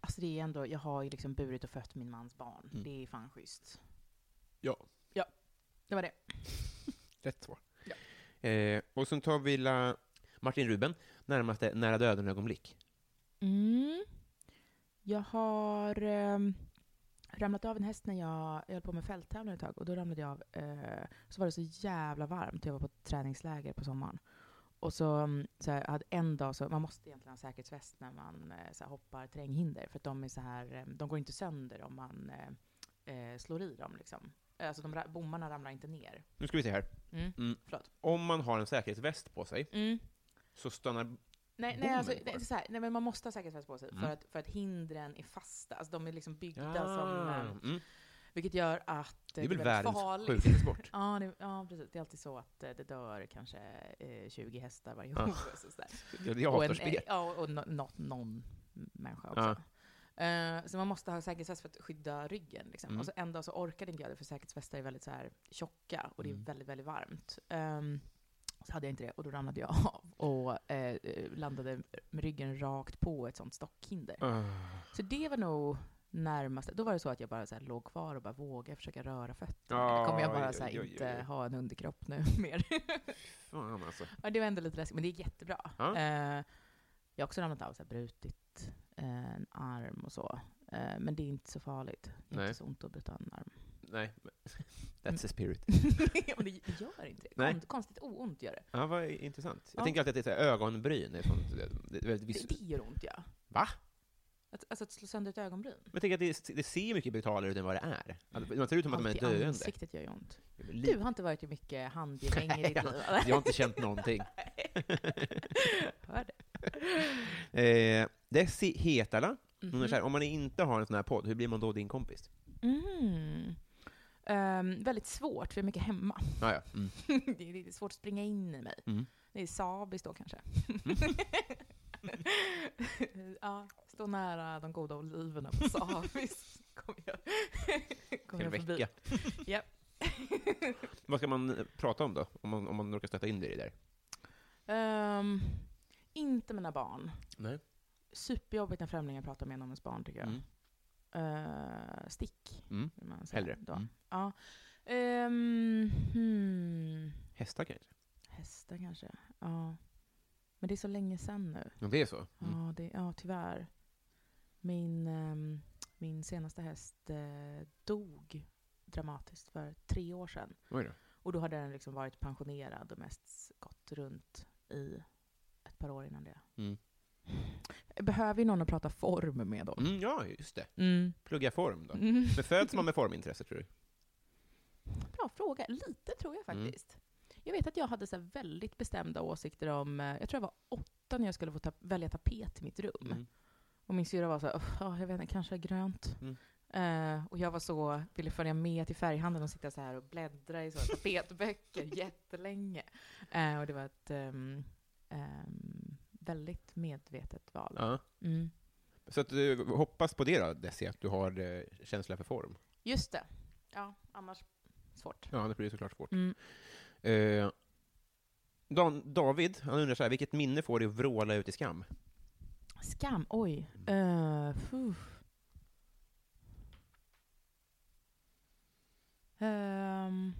Speaker 3: Alltså det är ändå, jag har ju liksom burit och fött min mans barn.
Speaker 2: Mm.
Speaker 3: Det är fan schysst.
Speaker 2: Ja.
Speaker 3: Ja, det var det.
Speaker 2: Rätt svar.
Speaker 3: Ja.
Speaker 2: Eh, och sen tar vi la Martin Ruben, närmaste nära döden-ögonblick.
Speaker 3: Mm. Jag har ehm, ramlat av en häst när jag, jag höll på med fälttävlan ett tag. Och då ramlade jag av. Eh, så var det så jävla varmt. Jag var på ett träningsläger på sommaren. Och så, mm, så här, jag hade en dag så, man måste egentligen ha säkerhetsväst när man eh, så här, hoppar terränghinder. För att de är så här, eh, de går inte sönder om man eh, eh, slår i dem liksom. Eh, Alltså de ra- bommarna ramlar inte ner.
Speaker 2: Nu ska vi se här.
Speaker 3: Mm.
Speaker 2: Mm.
Speaker 3: Förlåt.
Speaker 2: Om man har en säkerhetsväst på sig så stannar...
Speaker 3: Nej, nej,
Speaker 2: Bommen
Speaker 3: alltså,
Speaker 2: kvar.
Speaker 3: det är så här, nej, men man måste ha säkerhetsväst på sig
Speaker 2: Mm.
Speaker 3: för, att, för att hindren är fasta. Alltså, de är liksom byggda som... eh,
Speaker 2: mm.
Speaker 3: Vilket gör att
Speaker 2: Det
Speaker 3: eh,
Speaker 2: är väl
Speaker 3: väldigt
Speaker 2: världens
Speaker 3: farligt.
Speaker 2: sjukaste sport.
Speaker 3: Ja, det, ja, precis. Det är alltid så att eh, det dör kanske eh, 20 hästar varje
Speaker 2: Ja.
Speaker 3: år. och så där.
Speaker 2: Jag, jag
Speaker 3: och
Speaker 2: hatar
Speaker 3: en-
Speaker 2: spel.
Speaker 3: Ja, och no, no, någon människa också. Eh, så man måste ha säkerhetsväst för att skydda ryggen. Liksom.
Speaker 2: Mm.
Speaker 3: Och så en dag så orkade inte jag det, för säkerhetsvästar är väldigt så här, tjocka och det är
Speaker 2: Mm.
Speaker 3: väldigt, väldigt varmt. Ehm, så hade jag inte det och då ramlade jag av och eh, eh, landade med ryggen rakt på ett sånt stockhinder.
Speaker 2: Ah.
Speaker 3: Så det var nog närmast. Då var det så att jag bara så här låg kvar och bara vågade försöka röra fötterna.
Speaker 2: Ja,
Speaker 3: kommer jag bara
Speaker 2: oj,
Speaker 3: så här,
Speaker 2: oj, oj, oj.
Speaker 3: inte ha en underkropp nu mer.
Speaker 2: Fan alltså.
Speaker 3: ja, det var ändå lite läskigt, men det är jättebra.
Speaker 2: Ja.
Speaker 3: Eh, jag har också ramlat av, så här, brutit eh, en arm och så. Eh, men det är inte så farligt. Det är
Speaker 2: Nej.
Speaker 3: inte så ont att bryta en arm.
Speaker 2: Nej, men- that's the spirit.
Speaker 3: Mm. men det det gör inte det.
Speaker 2: Nej.
Speaker 3: Kon- Konstigt oont gör det.
Speaker 2: Ja, vad intressant. Jag
Speaker 3: Ja.
Speaker 2: tänker alltid att det är så här ögonbryn. Är sånt, det, det är väldigt vis-
Speaker 3: Det, det gör ont, ja.
Speaker 2: Va?
Speaker 3: Att, alltså att slå sönder ett ögonbryn.
Speaker 2: Men jag tänker att det, det ser mycket brutalare ut än vad det är. Alltså, man ser ut som att de är
Speaker 3: Allt i
Speaker 2: döende.
Speaker 3: Mm. ansiktet gör ju ont.
Speaker 2: Jag blir
Speaker 3: Du
Speaker 2: li-
Speaker 3: har inte varit i mycket handgemäng i ditt
Speaker 2: Nej,
Speaker 3: liv,
Speaker 2: Jag har inte känt någonting.
Speaker 3: Hör det.
Speaker 2: Eh, Desi Hetala, hon är
Speaker 3: Mhm.
Speaker 2: så här, om man inte har en sån här podd, hur blir man då din kompis?
Speaker 3: Mm. Mm-hmm. Ehm, väldigt svårt, för jag är mycket hemma.
Speaker 2: Ah, ja. mm.
Speaker 3: det är lite svårt att springa in i mig.
Speaker 2: Mm.
Speaker 3: Det är Sabis då kanske. ja, stå nära de goda oliverna på Sabis. Kommer jag, kom
Speaker 2: Till
Speaker 3: jag
Speaker 2: en
Speaker 3: förbi.
Speaker 2: vecka. Vad ska man eh, prata om då? Om man, om man råkar stöta in dig i det där?
Speaker 3: Ehm, inte mina barn.
Speaker 2: Nej.
Speaker 3: Superjobbigt när främlingar pratar med en om ens barn tycker jag.
Speaker 2: Mm.
Speaker 3: Eh, stick.
Speaker 2: Mm.
Speaker 3: vill man säga
Speaker 2: Hellre.
Speaker 3: Då.
Speaker 2: Mm.
Speaker 3: Ja. Ehm, hmm.
Speaker 2: Hästar kanske?
Speaker 3: Hästar kanske. Ja. Men det är så länge sedan nu.
Speaker 2: Ja, det är så? Mm.
Speaker 3: Ja, det, ja tyvärr. Min, ehm, min senaste häst eh, dog dramatiskt för tre år sedan.
Speaker 2: Oj då.
Speaker 3: Och då hade den liksom varit pensionerad och mest gått runt i ett par år innan det.
Speaker 2: Mm.
Speaker 3: Jag behöver ju någon att prata form med då.
Speaker 2: Mm, ja, just det.
Speaker 3: Mm.
Speaker 2: Plugga form då.
Speaker 3: Mm.
Speaker 2: Beföds man med formintresse, tror du?
Speaker 3: Bra fråga. Lite tror jag
Speaker 2: Mm.
Speaker 3: faktiskt. Jag vet att jag hade så här väldigt bestämda åsikter om, eh, jag tror jag var åtta när jag skulle få ta- välja tapet i mitt rum.
Speaker 2: Mm.
Speaker 3: Och min syrra var så här, "Uff, ja, jag vet inte, kanske grönt.
Speaker 2: Mm.
Speaker 3: Eh, och jag var så, ville följa med till färghandeln och sitta så här och bläddra i så här tapetböcker jättelänge. Eh, och det var ett ehm, ehm, väldigt medvetet val.
Speaker 2: Ja.
Speaker 3: Mm.
Speaker 2: Så att du hoppas på det då, Desi, att du har eh, känsla för form?
Speaker 3: Just det. Ja, annars svårt.
Speaker 2: Ja, det blir såklart svårt.
Speaker 3: Mm.
Speaker 2: Eh, Dan, David, han undrar så här, vilket minne får dig att vråla ut i skam?
Speaker 3: Skam, oj.
Speaker 2: Mm.
Speaker 3: Eh, fuh. Ehm.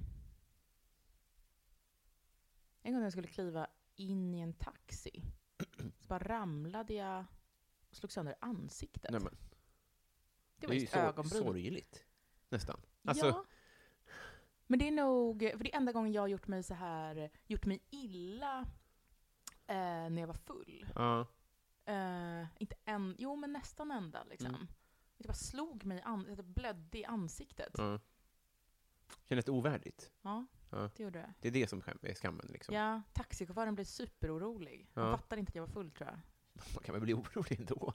Speaker 3: en gång när jag skulle kliva in i en taxi så bara ramlade jag och slog sönder ansiktet.
Speaker 2: Nej, men,
Speaker 3: det var just
Speaker 2: är ju
Speaker 3: ögonbryn.
Speaker 2: sorgligt, nästan. Alltså,
Speaker 3: Ja. Men det är nog, för det är enda gången jag har gjort mig så här, gjort mig illa eh, när jag var full.
Speaker 2: ja.
Speaker 3: Eh, inte en, jo men nästan ända liksom.
Speaker 2: Mm.
Speaker 3: Det bara slog mig i an- det blödde i ansiktet.
Speaker 2: ja. Kändes det ovärdigt?
Speaker 3: Ja,
Speaker 2: Ja.
Speaker 3: det gjorde det.
Speaker 2: Det är det som skäm- är skammen, liksom.
Speaker 3: Ja, taxichauffören blev superorolig.
Speaker 2: Ja.
Speaker 3: Han fattade inte att jag var full tror jag.
Speaker 2: Man kan väl bli orolig ändå?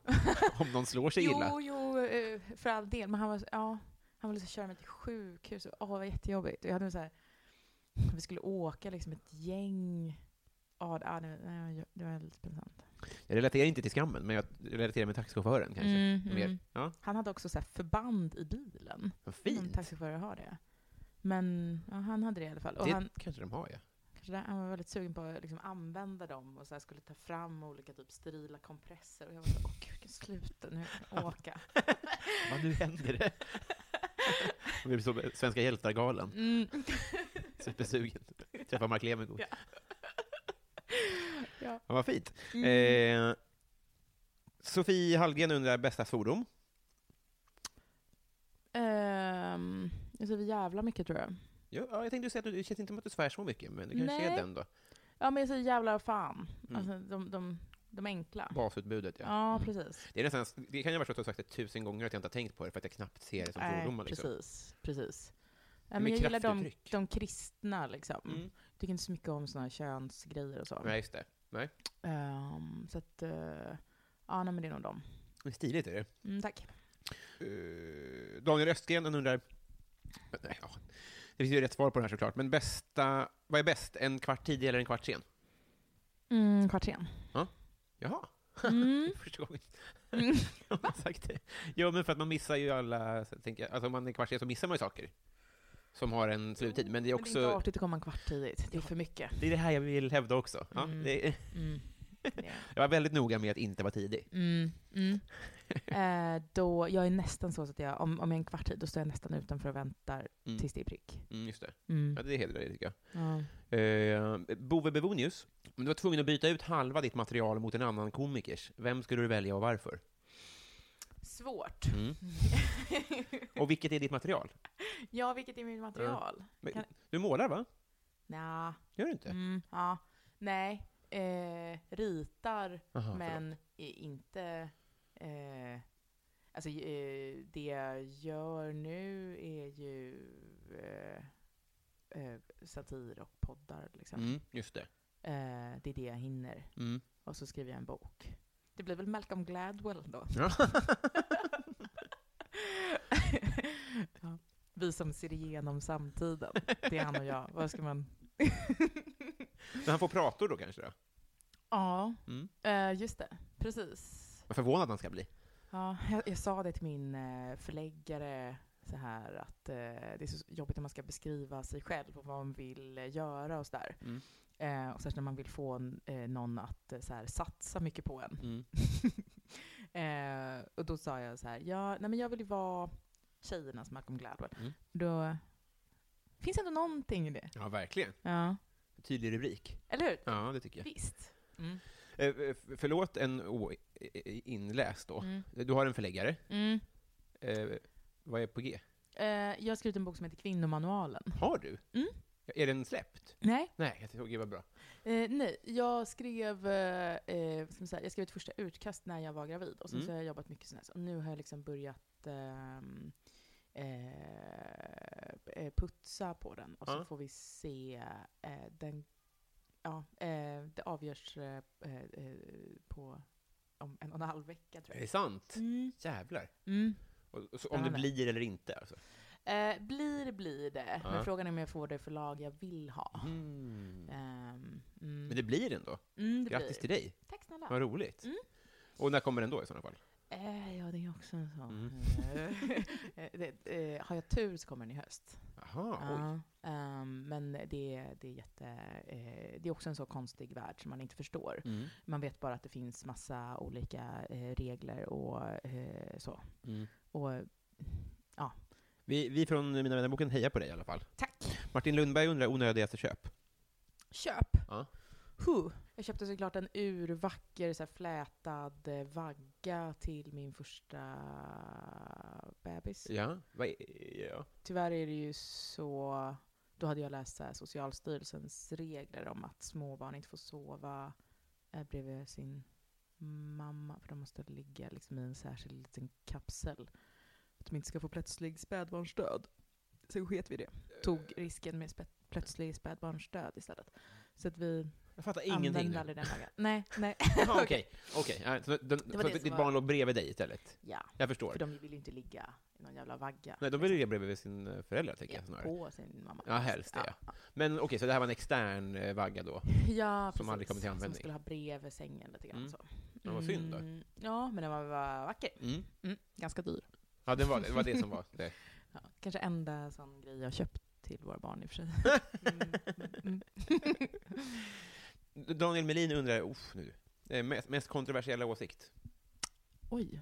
Speaker 2: Om någon slår sig illa?
Speaker 3: Jo, jo, eh, för all del. Men han var, så- ja, han ville så köra mig till sjukhus. Och, åh, det var jättejobbigt. Och jag hade så här, vi skulle åka liksom ett gäng. Ja, det, ja, det, nej, det var lite pinsamt.
Speaker 2: Jag relaterar inte till skammen, men jag relaterar med taxichauffören kanske.
Speaker 3: Mm.
Speaker 2: Mer. Ja,
Speaker 3: Han hade också så här förband i bilen.
Speaker 2: vad
Speaker 3: Någon
Speaker 2: fint.
Speaker 3: taxichaufförer har det. Men ja, han hade det i alla fall. Och
Speaker 2: Det
Speaker 3: han,
Speaker 2: kanske de har, ja.
Speaker 3: kanske där, han var väldigt sugen på att liksom använda dem och så här skulle ta fram olika typ sterila kompresser. Och jag var så åh gud, sluta nu, kan jag åka.
Speaker 2: Vad nu händer det? Det blir som Svenska hjältar-galan.
Speaker 3: Mm.
Speaker 2: Supersugen. Träffa Mark Levengood.
Speaker 3: Ja. Ja.
Speaker 2: vad fint.
Speaker 3: Mm.
Speaker 2: Eh, Sofie Hallgren undrar bästa svordom.
Speaker 3: Ehm, jag säger jävla mycket tror jag.
Speaker 2: Ja, ja, jag tänkte säga att du, det känns inte som att du svär så mycket, men du kanske
Speaker 3: Nej.
Speaker 2: är den då.
Speaker 3: Ja men jag säger jävla och fan.
Speaker 2: Mm.
Speaker 3: Alltså de, de, de enkla.
Speaker 2: Basutbudet, ja. Mm.
Speaker 3: Ja, precis.
Speaker 2: Det, är nästan, det kan jag vara så att du har sagt det tusen gånger att jag inte har tänkt på det, för att jag knappt ser det som svordomar. Liksom.
Speaker 3: precis. precis. Ja,
Speaker 2: Men
Speaker 3: men jag gillar de,
Speaker 2: kraftuttryck.
Speaker 3: de kristna liksom.
Speaker 2: Mm.
Speaker 3: Tycker inte så mycket om såna här könsgrejer och så.
Speaker 2: Nej, just det.
Speaker 3: Ehm, så att, eh, ja nej, men det är nog dem.
Speaker 2: Det är Stiligt är det.
Speaker 3: Mm, tack.
Speaker 2: Eh, Daniel Östgren han undrar... Nej, ja. Det finns ju rätt svar på den här såklart, men bästa... Vad är bäst? En kvart tidig eller en kvart sen?
Speaker 3: Mm, kvart sen.
Speaker 2: Jaha,
Speaker 3: Mm.
Speaker 2: första gången.
Speaker 3: Mm.
Speaker 2: har man sagt det. Jo, men för att man missar ju alla... så jag tänker- Alltså om man är kvart sen så missar man ju saker som har en sluttid. Men det är också...
Speaker 3: Men det är inte artigt att komma en kvart tidigt. Det är för mycket.
Speaker 2: det är det här jag vill hävda också. Ja,
Speaker 3: Mm.
Speaker 2: det,
Speaker 3: Mm. Det är-
Speaker 2: jag var väldigt noga med att inte vara tidig.
Speaker 3: Mm. Mm. Eh, då, jag är nästan så att jag, om, om jag är en kvart tid, då står jag nästan utanför och väntar
Speaker 2: Mm.
Speaker 3: tills det är prick.
Speaker 2: Mm, just det.
Speaker 3: Mm.
Speaker 2: Ja, det hedrar dig, tycker jag.
Speaker 3: Ja.
Speaker 2: Eh, Bove Bevonius, om du var tvungen att byta ut halva ditt material mot en annan komikers, vem skulle du välja och varför?
Speaker 3: Svårt.
Speaker 2: Mm. Och vilket är ditt material?
Speaker 3: ja, vilket är mitt material?
Speaker 2: Du målar, va?
Speaker 3: Nja,
Speaker 2: Gör du inte?
Speaker 3: mm, ja, nej. Eh, ritar,
Speaker 2: Aha, förlåt.
Speaker 3: men är inte... Eh, alltså, eh, det jag gör nu är ju eh, eh, satir och poddar. Liksom.
Speaker 2: Mm, just det.
Speaker 3: Eh, det är det jag hinner.
Speaker 2: Mm.
Speaker 3: Och så skriver jag en bok. Det blir väl Malcolm Gladwell då.
Speaker 2: Ja.
Speaker 3: ja. Vi som ser igenom samtiden. Det är han och jag. Vad ska man...
Speaker 2: Men han får prator då kanske? Då?
Speaker 3: Ja,
Speaker 2: Mm.
Speaker 3: eh, just det. Precis.
Speaker 2: Vad förvånad han ska bli.
Speaker 3: Ja, jag, jag sa det till min eh, förläggare så här att eh, det är så jobbigt när man ska beskriva sig själv och vad man vill eh, göra och sådär.
Speaker 2: Mm.
Speaker 3: Eh, och särskilt när man vill få en, eh, någon att eh, så här, satsa mycket på en.
Speaker 2: mm,
Speaker 3: Eh, och då sa jag så här, ja, nej men jag vill ju vara tjejernas Malcolm Gladwell.
Speaker 2: Mm.
Speaker 3: Då finns ändå någonting i det.
Speaker 2: Ja, verkligen.
Speaker 3: Ja.
Speaker 2: Tydlig rubrik.
Speaker 3: Eller hur?
Speaker 2: Ja, det tycker jag.
Speaker 3: Visst. Mm.
Speaker 2: Eh, eh, f- Förlåt en o- eh, eh, inläst då.
Speaker 3: Mm.
Speaker 2: Du har en förläggare.
Speaker 3: Mm.
Speaker 2: Eh, Vad är på G?
Speaker 3: Eh, jag har skrivit en bok som heter Kvinnomanualen.
Speaker 2: Har du?
Speaker 3: Mm.
Speaker 2: Är den släppt?
Speaker 3: Nej.
Speaker 2: Nej, jag tycker det var bra.
Speaker 3: Eh, nej, jag skrev, eh, eh, som sagt, jag skrev ett första utkast när jag var gravid och sen
Speaker 2: Mm.
Speaker 3: så har jag jobbat mycket sen dess. Och nu har jag liksom börjat ehm, eh, eh, putsa på den och
Speaker 2: Ja.
Speaker 3: så får vi se eh, den, ja, eh, det avgörs eh, eh, eh, på om en och en halv vecka tror
Speaker 2: Är det
Speaker 3: jag.
Speaker 2: sant?
Speaker 3: Mm.
Speaker 2: Jävlar.
Speaker 3: Mm.
Speaker 2: Och, och så, om det
Speaker 3: Spännande.
Speaker 2: blir eller inte alltså.
Speaker 3: Eh, blir blir det,
Speaker 2: Ja.
Speaker 3: men frågan är om jag får det förlag jag vill ha.
Speaker 2: Mm.
Speaker 3: Ehm, mm.
Speaker 2: Men det blir ändå.
Speaker 3: mm, Ah. det
Speaker 2: Grattis
Speaker 3: blir.
Speaker 2: till dig.
Speaker 3: Tack snälla.
Speaker 2: Vad roligt.
Speaker 3: Mm.
Speaker 2: Och när kommer den då i sådana fall?
Speaker 3: Eh, ja, det är också en sån.
Speaker 2: Mm.
Speaker 3: Eh, det, eh, har jag tur så kommer den i höst.
Speaker 2: Jaha, Ah, oj.
Speaker 3: Ja, ehm, men det, det, är jätte, eh, det är också en så konstig värld som man inte förstår.
Speaker 2: Mm.
Speaker 3: Man vet bara att det finns massa olika eh, regler och eh, så.
Speaker 2: Mm.
Speaker 3: Och,
Speaker 2: Vi, vi från Mina vännerboken hejar på dig i alla fall.
Speaker 3: tack!
Speaker 2: Martin Lundberg undrar onödigaste köp.
Speaker 3: Köp!
Speaker 2: Ja.
Speaker 3: Huh. Jag köpte såklart en urvacker så här, flätad eh, vagga till min första bebis.
Speaker 2: Ja. Vad är- ja.
Speaker 3: Tyvärr är det ju så, då hade jag läst så här, Socialstyrelsens regler om att småbarn inte får sova eh, bredvid sin mamma, för de måste ligga liksom i en särskild liten kapsel. Att de inte ska få plötslig spädbarnsdöd. Sen sket vi det. Tog
Speaker 2: Eh.
Speaker 3: risken med spä- plötslig spädbarnsdöd istället. Så att vi
Speaker 2: Jag fattar ingenting
Speaker 3: använde
Speaker 2: nu.
Speaker 3: aldrig den lagen. Nej, nej.
Speaker 2: Jaha, Okej, okej. Ja, så den-
Speaker 3: var
Speaker 2: så
Speaker 3: det
Speaker 2: att
Speaker 3: som
Speaker 2: ditt
Speaker 3: var-
Speaker 2: barn låg bredvid dig istället?
Speaker 3: Ja,
Speaker 2: Jag förstår.
Speaker 3: för de vill ju inte ligga i någon jävla vagga.
Speaker 2: Nej, de vill ligga bredvid sin eh, föräldrar, tänker jag
Speaker 3: Ja,
Speaker 2: snarare.
Speaker 3: på sin mamma.
Speaker 2: Ja, helst det, ja. Men okej, så det här var en extern eh, vagga då? Som
Speaker 3: Ja, precis.
Speaker 2: aldrig kommer till användning.
Speaker 3: Som skulle ha bredvid sängen lite grann
Speaker 2: Mm.
Speaker 3: så.
Speaker 2: Ja, vad synd då.
Speaker 3: Mm, Ja, men den var, var vacker.
Speaker 2: Mm.
Speaker 3: Mm, ganska dyr.
Speaker 2: Ja, det var det. Det var det som var det.
Speaker 3: Ja, kanske enda sån grej jag köpt till våra barn i och för sig. Mm.
Speaker 2: Daniel Melin undrar, uff nu, Eh, mest, mest kontroversiella åsikt?
Speaker 3: Oj.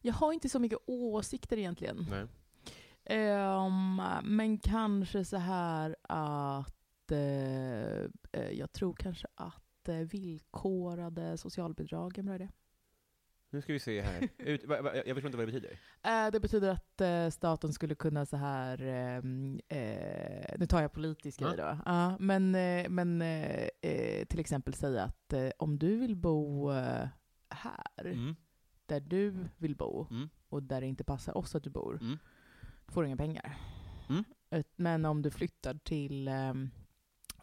Speaker 3: Jag har inte så mycket åsikter egentligen.
Speaker 2: Nej.
Speaker 3: Ehm, men kanske så här att eh, eh, jag tror kanske att eh, villkorade socialbidrag är en bra idé.
Speaker 2: Nu ska vi se här. Ut, va, va, jag förstår inte vad det betyder.
Speaker 3: Eh, Det betyder att eh, staten skulle kunna så här, ehm, eh, nu tar jag politisk
Speaker 2: Ja.
Speaker 3: grej då, Ja, men, eh, men eh, eh, till exempel säga att eh, om du vill bo eh, här,
Speaker 2: Mm.
Speaker 3: där du vill bo,
Speaker 2: Mm.
Speaker 3: och där det inte passar oss att du bor,
Speaker 2: Mm.
Speaker 3: får du inga pengar.
Speaker 2: Mm.
Speaker 3: Ett- Men om du flyttar till ehm,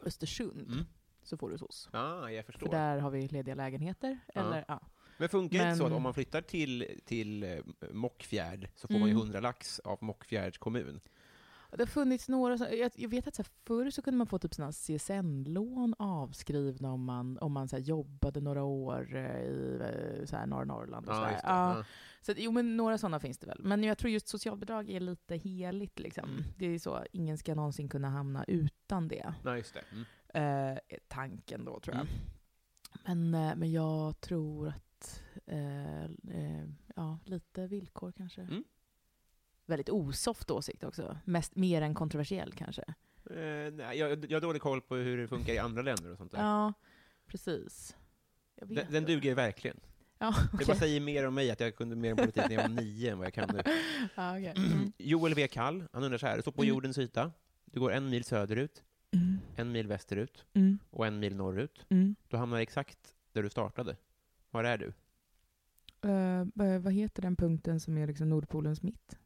Speaker 3: Östersund
Speaker 2: Mm.
Speaker 3: så får du SOS.
Speaker 2: Ah, jag förstår.
Speaker 3: För där har vi lediga lägenheter.
Speaker 2: Ja.
Speaker 3: Eller, ja.
Speaker 2: Men funkar det inte så att
Speaker 3: Men-
Speaker 2: om man flyttar till, till eh, Mockfjärd så får man ju
Speaker 3: Mm.
Speaker 2: 100 lax av Mockfjärds kommun?
Speaker 3: Det har funnits några, så- jag, jag vet att så här, förr så kunde man få typ sina CSN-lån avskrivna om man, om man så här, jobbade några år eh, i eh, så här, norra Norrland. Och så
Speaker 2: Ja,
Speaker 3: här.
Speaker 2: just det.
Speaker 3: Ja.
Speaker 2: Ja.
Speaker 3: Så att, jo, men några sådana finns det väl. Men jag tror just socialbidrag är lite heligt. Liksom.
Speaker 2: Mm.
Speaker 3: Det är så, ingen ska någonsin kunna hamna utan det.
Speaker 2: Nej, just det. Mm.
Speaker 3: Eh, är tanken då, tror jag. Men, eh, men jag tror att, eh, eh, ja, lite villkor kanske.
Speaker 2: Mm.
Speaker 3: Väldigt osoft åsikt också. Mest, mer än kontroversiell kanske.
Speaker 2: Eh, nej, jag, jag har dålig koll på hur det funkar i andra länder och sånt där.
Speaker 3: Ja, precis. Jag vet
Speaker 2: den, den
Speaker 3: inte.
Speaker 2: duger verkligen.
Speaker 3: Ja,
Speaker 2: Det
Speaker 3: okej.
Speaker 2: bara säger mer om mig att jag kunde mer om politik när jag var nio än vad jag kan nu.
Speaker 3: Ja, okej. Mm.
Speaker 2: Joel V. Kall, han undrar så här, du står på
Speaker 3: Mm.
Speaker 2: jordens yta, du går en mil söderut,
Speaker 3: Mm.
Speaker 2: en mil västerut
Speaker 3: Mm.
Speaker 2: och en mil norrut.
Speaker 3: Mm.
Speaker 2: Du hamnar exakt där du startade. Var är du?
Speaker 3: Eh, eh, vad heter den punkten som är liksom Nordpolens mitt?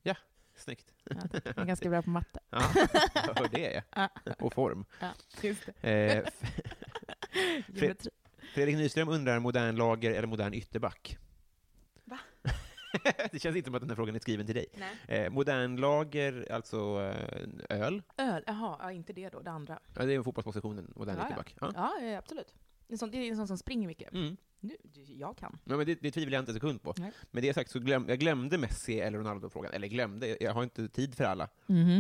Speaker 2: Snyggt.
Speaker 3: Ja, tack. jag är ganska bra på matte. Ah,
Speaker 2: Ja, jag hör det är jag. Och form.
Speaker 3: Ja, just det.
Speaker 2: Eh, F-
Speaker 3: Geometri.
Speaker 2: Fredrik Nyström undrar modern lager eller modern ytterback.
Speaker 3: Va?
Speaker 2: det känns inte som att den här frågan är skriven till dig.
Speaker 3: Nej.
Speaker 2: Eh, modern lager, alltså eh, öl.
Speaker 3: Öl, jaha, ja, inte det då, det andra.
Speaker 2: Ja, det är ju fotbollspositionen, modern
Speaker 3: Ja, ja.
Speaker 2: ytterback. Ja.
Speaker 3: Ja, ja absolut. En sån, det är en sån som springer mycket.
Speaker 2: Mm.
Speaker 3: Nu, jag kan.
Speaker 2: Ja, men det, det tvivlar jag inte en sekund på.
Speaker 3: Nej.
Speaker 2: Med det sagt så glöm, jag glömde Messi eller Ronaldo-frågan. Eller glömde, jag har inte tid för alla.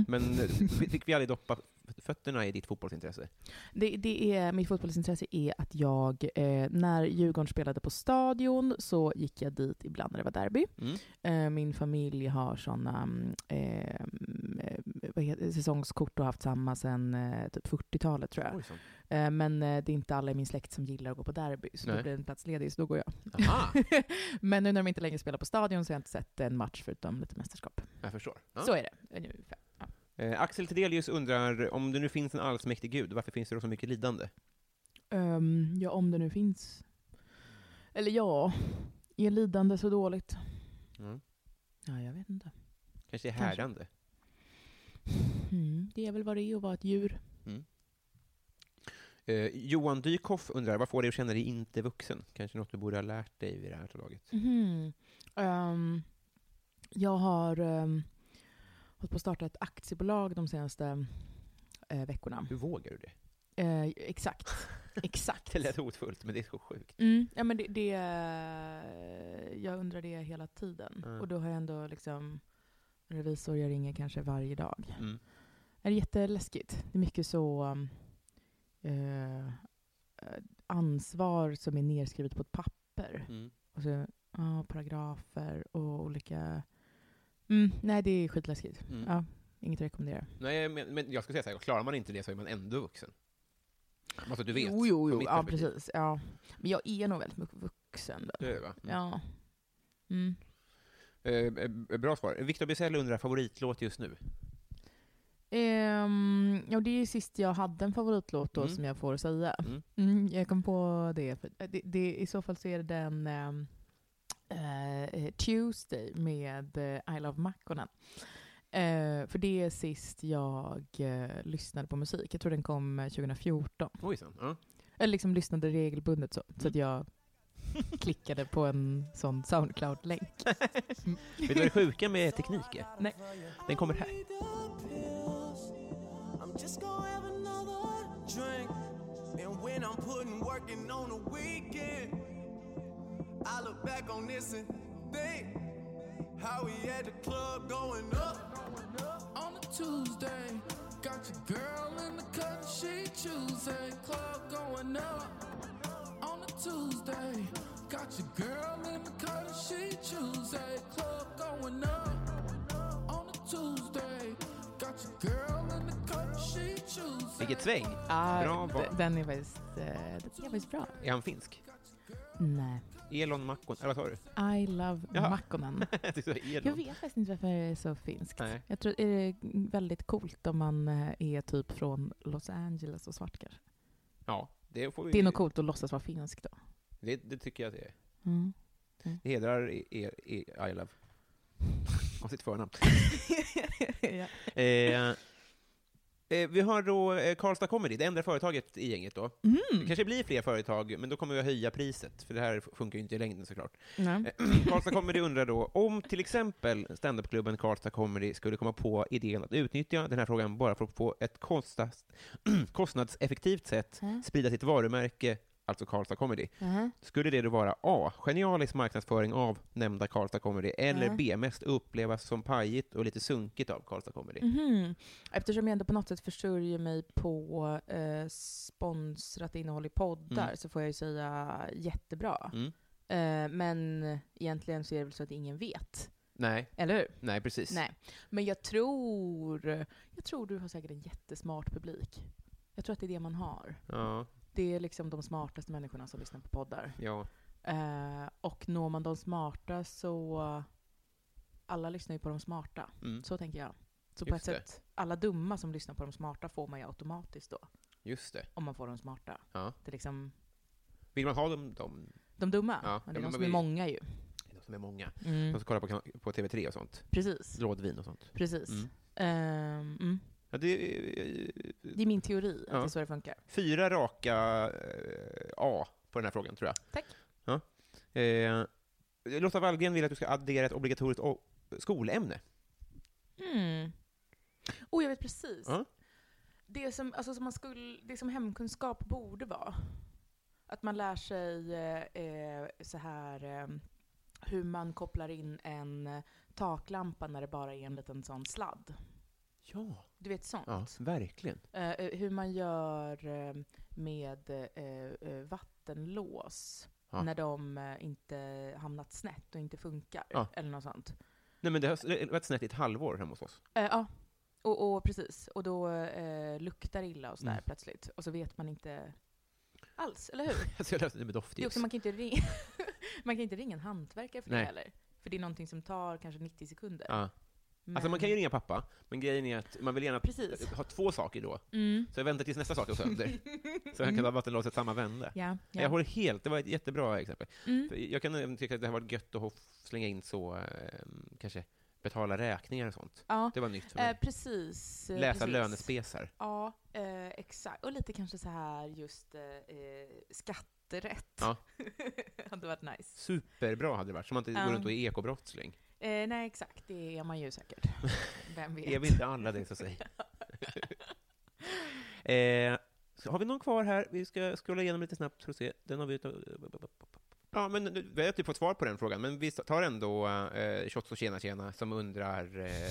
Speaker 2: Men eh, fick vi aldrig doppa fötterna i ditt fotbollsintresse?
Speaker 3: Det, det är, mitt fotbollsintresse är att jag, eh, när Djurgården spelade på Stadion så gick jag dit ibland när det var derby.
Speaker 2: Mm.
Speaker 3: Eh, min familj har såna mm, eh, mm, eh, vad heter, säsongskort och haft samma sedan eh, typ 40-talet tror jag.
Speaker 2: Oj, så.
Speaker 3: Eh, men eh, det är inte alla i min släkt som gillar att gå på derby, så
Speaker 2: Nej. Ah.
Speaker 3: då blir det en plats ledig, så då går jag.
Speaker 2: Aha,
Speaker 3: men nu när de inte längre spelar på Stadion så har jag inte sett en match förutom lite mästerskap.
Speaker 2: Ah. jag förstår. Ja.
Speaker 3: Så är det. Ungefär.
Speaker 2: Eh, Axel Tedelius undrar, om det nu finns en allsmäktig gud, varför finns det då så mycket lidande?
Speaker 3: Ehm, ja, om det nu finns. Eller ja, är lidande så dåligt?
Speaker 2: Mm.
Speaker 3: Ja, jag vet inte.
Speaker 2: Kanske är
Speaker 3: Kanske.
Speaker 2: härdande?
Speaker 3: Mm, det är väl vad det är att vara ett djur.
Speaker 2: Eh, Johan Dykhoff undrar, vad får dig att känna dig inte vuxen? Kanske något du borde ha lärt dig vid det här laget?
Speaker 3: Mhm. Ehm, jag har um, hållit på att starta ett aktiebolag de senaste eh, veckorna.
Speaker 2: Hur vågar du det?
Speaker 3: Eh, exakt. exakt.
Speaker 2: Det lät hotfullt, men det är så sjukt.
Speaker 3: Mm, ja, men det, det, eh, jag undrar det hela tiden.
Speaker 2: Mm.
Speaker 3: Och då har jag ändå liksom en revisor jag ringer kanske varje dag.
Speaker 2: Mm.
Speaker 3: Det är jätteläskigt. Det är mycket så um, eh, eh, ansvar som är nedskrivet på ett papper.
Speaker 2: Mm.
Speaker 3: Och så, ja, paragrafer och olika... Mm, nej, det är skitläskigt.
Speaker 2: Mm.
Speaker 3: Ja, inget att rekommendera.
Speaker 2: Nej, men, men jag skulle säga så här, klarar man inte det så är man ändå vuxen. Alltså, du vet.
Speaker 3: jo, jo,
Speaker 2: från
Speaker 3: jo.
Speaker 2: mitt
Speaker 3: Ja,
Speaker 2: perspektiv.
Speaker 3: precis. Ja. Men jag är nog väldigt mycket vuxen. Då.
Speaker 2: Det är det, va? Mm.
Speaker 3: Ja. Mm.
Speaker 2: Eh, eh, bra svar. Victor Bysell undrar, favoritlåt just nu?
Speaker 3: Ehm, ja, det är ju sist jag hade en favoritlåt då
Speaker 2: Mm.
Speaker 3: som jag får säga.
Speaker 2: Mm.
Speaker 3: Mm. jag kom på det. För eh, det, det. I så fall så är det den ehm, eh, Tuesday med eh, I Love Makkonen. Eh, för det är sist jag eh, lyssnade på musik. Jag tror den kom eh, 2014.
Speaker 2: Ojsan. Ja.
Speaker 3: Eller liksom lyssnade regelbundet så. Så att
Speaker 2: Mm.
Speaker 3: jag klickade på en sån Soundcloud-länk.
Speaker 2: Vet du vad det sjuka med teknik är?
Speaker 3: Nej.
Speaker 2: Den kommer här.
Speaker 4: I'm just gonna have another drink. And when I'm putting working on the weekend, I look back on this and think how we at the club going up on a Tuesday. Got your girl in the cut, she choosing. Club going up on a Tuesday. Got your girl in the cut, she choosing. Club going up on a Tuesday. Got your girl in the cut, she choosing.
Speaker 2: Vilket sväng!
Speaker 3: Ah,
Speaker 2: Bra
Speaker 3: d-
Speaker 2: val.
Speaker 3: den är faktiskt, eh, den är faktiskt bra.
Speaker 2: Är han finsk?
Speaker 3: Nej.
Speaker 2: Elon Makkonen, eller vad sa du?
Speaker 3: I Love
Speaker 2: Jaha.
Speaker 3: Makkonen.
Speaker 2: Du sa
Speaker 3: Mm. Jag
Speaker 2: Elon.
Speaker 3: vet faktiskt inte varför det är så finskt.
Speaker 2: Nej.
Speaker 3: Jag tror är det är väldigt coolt om man eh, är typ från Los Angeles och svart kanske.
Speaker 2: Ja, det får vi...
Speaker 3: Det är nog coolt att låtsas vara finsk då.
Speaker 2: Det, det tycker jag att det är.
Speaker 3: Mm.
Speaker 2: Det hedrar er, er, I love. Av sitt förnamn.
Speaker 3: ja.
Speaker 2: Eh, eh, vi har då eh, Karlstad Comedy, det enda företaget i gänget då.
Speaker 3: Mm.
Speaker 2: Det kanske blir fler företag, men då kommer vi att höja priset, för det här funkar ju inte i längden såklart. Eh,
Speaker 3: Nej.
Speaker 2: Karlstad Comedy undrar då, om till exempel standupklubben Karlstad Comedy skulle komma på idén att utnyttja den här frågan bara för att på ett kostnads, kostnadseffektivt sätt
Speaker 3: Ja.
Speaker 2: sprida sitt varumärke, alltså Karlstad Comedy,
Speaker 3: Ja.
Speaker 2: skulle det då vara A. Genialisk marknadsföring av nämnda Karlstad Comedy, eller
Speaker 3: Ja.
Speaker 2: B. Mest upplevas som pajigt och lite sunkigt av Karlstad Comedy?
Speaker 3: Mhm. Eftersom jag ändå på något sätt försörjer mig på eh, sponsrat innehåll i poddar
Speaker 2: Mm.
Speaker 3: så får jag ju säga jättebra.
Speaker 2: Mm.
Speaker 3: Eh, men egentligen så är det väl så att ingen vet.
Speaker 2: Nej,
Speaker 3: Eller hur?
Speaker 2: nej precis.
Speaker 3: Nej, men jag tror, jag tror du har säkert en jättesmart publik. Jag tror att det är det man har.
Speaker 2: Ja,
Speaker 3: Det är liksom de smartaste människorna som lyssnar på poddar.
Speaker 2: ja.
Speaker 3: Eh, och når man de smarta så... Alla lyssnar ju på de smarta.
Speaker 2: Mm.
Speaker 3: Så tänker jag. Så på
Speaker 2: Just
Speaker 3: ett
Speaker 2: det.
Speaker 3: sätt, alla dumma som lyssnar på de smarta får man ju automatiskt då.
Speaker 2: Just det.
Speaker 3: Om man får de smarta.
Speaker 2: Ja.
Speaker 3: Det är liksom
Speaker 2: Vill man ha dem, de,
Speaker 3: de dumma.
Speaker 2: Ja,
Speaker 3: Ja,
Speaker 2: ja,
Speaker 3: det är
Speaker 2: men
Speaker 3: de som
Speaker 2: vi-
Speaker 3: är många ju.
Speaker 2: de som är många, de
Speaker 3: Mm.
Speaker 2: som kollar på, kan- på TV3 och sånt,
Speaker 3: Precis.
Speaker 2: rådvin och sånt?
Speaker 3: Precis.
Speaker 2: Mm.
Speaker 3: Ehm, mm.
Speaker 2: Ja, det är eh,
Speaker 3: Det är min teori, att
Speaker 2: Ja.
Speaker 3: det är så det funkar.
Speaker 2: fyra raka eh, A på den här frågan, tror jag.
Speaker 3: Tack.
Speaker 2: Ja. Eh, Lotta Wallgren vill att du ska addera ett obligatoriskt o- skolämne.
Speaker 3: Mm. Oh, jag vet precis.
Speaker 2: Ja.
Speaker 3: Det, som, alltså, som man skulle, det som hemkunskap borde vara, att man lär sig eh, eh, så här eh, hur man kopplar in en eh, taklampa när det bara är en liten sån sladd.
Speaker 2: Ja,
Speaker 3: Du vet sånt.
Speaker 2: ja verkligen.
Speaker 3: Eh, eh, hur man gör eh, med eh, eh, vattenlås
Speaker 2: Ja.
Speaker 3: när de eh, inte hamnat snett och inte funkar.
Speaker 2: Ja.
Speaker 3: Eller något sånt.
Speaker 2: Nej, men det har varit snett i ett halvår hemma hos oss.
Speaker 3: Eh, ja, och, och precis. Och då eh, luktar det illa och sådär
Speaker 2: Mm.
Speaker 3: plötsligt. Och så vet man inte alls, eller hur?
Speaker 2: Alltså, jag löste det med
Speaker 3: Det är
Speaker 2: doftljus.
Speaker 3: också, man, kan inte ringa, man kan inte ringa en hantverkare för
Speaker 2: Nej.
Speaker 3: det heller. För det är någonting som tar kanske 90 sekunder.
Speaker 2: Ja. Alltså man kan ju ringa pappa, men grejen är att man vill gärna
Speaker 3: Precis.
Speaker 2: ha två saker då.
Speaker 3: Mm.
Speaker 2: Så jag väntar tills nästa sak är sönder. så han kan ha vattenlåset samma vända.
Speaker 3: Ja,
Speaker 2: Jag
Speaker 3: ja.
Speaker 2: håller helt, det var ett jättebra exempel.
Speaker 3: Mm.
Speaker 2: För Jag kan även tycka att det här var gött att ha- slänga in så, eh, kanske betala räkningar och sånt.
Speaker 3: ja.
Speaker 2: Det var nytt för mig.
Speaker 3: Eh, precis. eh,
Speaker 2: Läsa
Speaker 3: precis.
Speaker 2: lönespesar.
Speaker 3: Ja, eh, exakt. Och lite kanske så här just eh, eh, skatterätt.
Speaker 2: Ja.
Speaker 3: hade varit nice.
Speaker 2: Superbra hade det varit, så man inte
Speaker 3: Ja.
Speaker 2: går runt och är ekobrottsling.
Speaker 3: Eh, nej, exakt. Det är man ju säkert. Vem vet?
Speaker 2: Är vi inte alla det, så säg. eh, så har vi någon kvar här? Vi ska scrolla igenom lite snabbt för att se. Den har vi... Ja, men nu- vi har typ fått svar på den frågan, men vi tar ändå eh, Shots och Tjena Tjena som undrar, eh,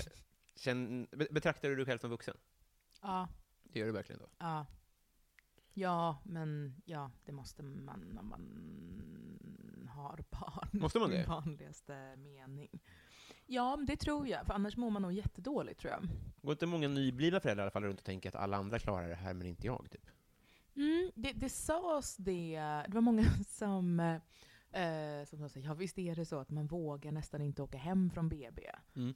Speaker 2: känn, be- betraktar du dig själv som vuxen?
Speaker 3: Ja,
Speaker 2: Det gör du verkligen då.
Speaker 3: ja. Ja, men ja, det måste man när man har barn.
Speaker 2: Måste man det?
Speaker 3: I vanligaste mening. Ja, men det tror jag. För annars mår man nog jättedåligt, tror jag.
Speaker 2: Går inte många nyblivna föräldrar i alla fall runt och tänker att alla andra klarar det här, men inte jag? Typ.
Speaker 3: Mm, det, det sades det, det var många som, eh, som sa så här, ja visst är det så att man vågar nästan inte åka hem från BB.
Speaker 2: Mm.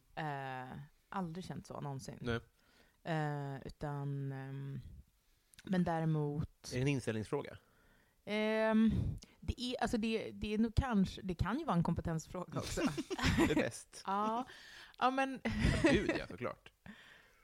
Speaker 3: Eh, aldrig känt så någonsin.
Speaker 2: Nej.
Speaker 3: Eh, utan, ehm, men däremot,
Speaker 2: Är det en inställningsfråga?
Speaker 3: ehm, det, är, alltså det, det är nog kanske, det kan ju vara en kompetensfråga också.
Speaker 2: Det är bäst.
Speaker 3: ja, ja, men,
Speaker 2: Gud, ja, såklart.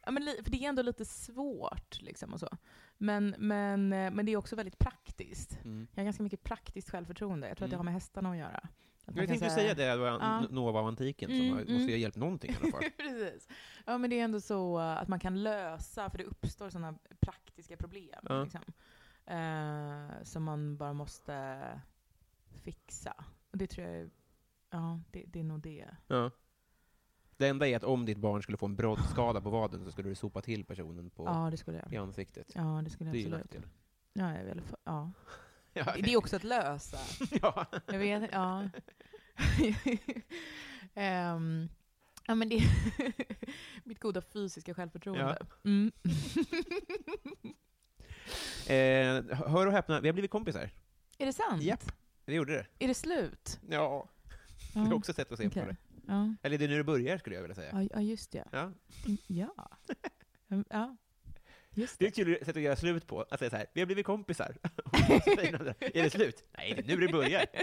Speaker 3: ja, men li- för det är ändå lite svårt liksom och så. Men, men, eh, men det är också väldigt praktiskt.
Speaker 2: Mm.
Speaker 3: Jag har ganska mycket praktiskt självförtroende. Jag tror att det
Speaker 2: Mm.
Speaker 3: har med hästarna att göra. Att man
Speaker 2: Jag
Speaker 3: kan
Speaker 2: tänkte
Speaker 3: säga-
Speaker 2: säga det, det var
Speaker 3: Ja.
Speaker 2: Nova-antiken som
Speaker 3: Mm,
Speaker 2: har- måste
Speaker 3: mm.
Speaker 2: ju ha hjälpt någonting i alla fall.
Speaker 3: Precis. Ja, men det är ändå så eh, att man kan lösa, för det uppstår sådana praktiska problem
Speaker 2: Ja.
Speaker 3: liksom, eh, som man bara måste fixa. Och det tror jag är- Ja, det, det är nog det.
Speaker 2: Ja. Det enda är att om ditt barn skulle få en broddskada på vaden så skulle du sopa till personen på,
Speaker 3: Ja, det skulle jag.
Speaker 2: i ansiktet.
Speaker 3: Ja, det skulle
Speaker 2: det är
Speaker 3: jag
Speaker 2: ju
Speaker 3: absolut.
Speaker 2: nackdel.
Speaker 3: Ja, jag vill, ja.
Speaker 2: Ja,
Speaker 3: Det är också att lösa.
Speaker 2: ja.
Speaker 3: Jag vet ja. Ehm, ja men det mitt goda fysiska självförtroende. Mm.
Speaker 2: Eh, hör och häpna, vi har blivit kompisar.
Speaker 3: Är det sant?
Speaker 2: Japp. Det gjorde det.
Speaker 3: Är det slut?
Speaker 2: Ja, det
Speaker 3: Ja.
Speaker 2: är också ett sätt att se
Speaker 3: okej.
Speaker 2: på det.
Speaker 3: Ja.
Speaker 2: Eller det är nu det börjar, skulle jag vilja säga.
Speaker 3: Ja, ja, just det. Mm,
Speaker 2: Ja.
Speaker 3: Ja. Mm, ja. Just
Speaker 2: Det är
Speaker 3: det.
Speaker 2: ett kul sätt att göra slut på, att säga så här, vi har blivit kompisar. Och så säger den andra, är det slut? Nej, det är nu det börjar.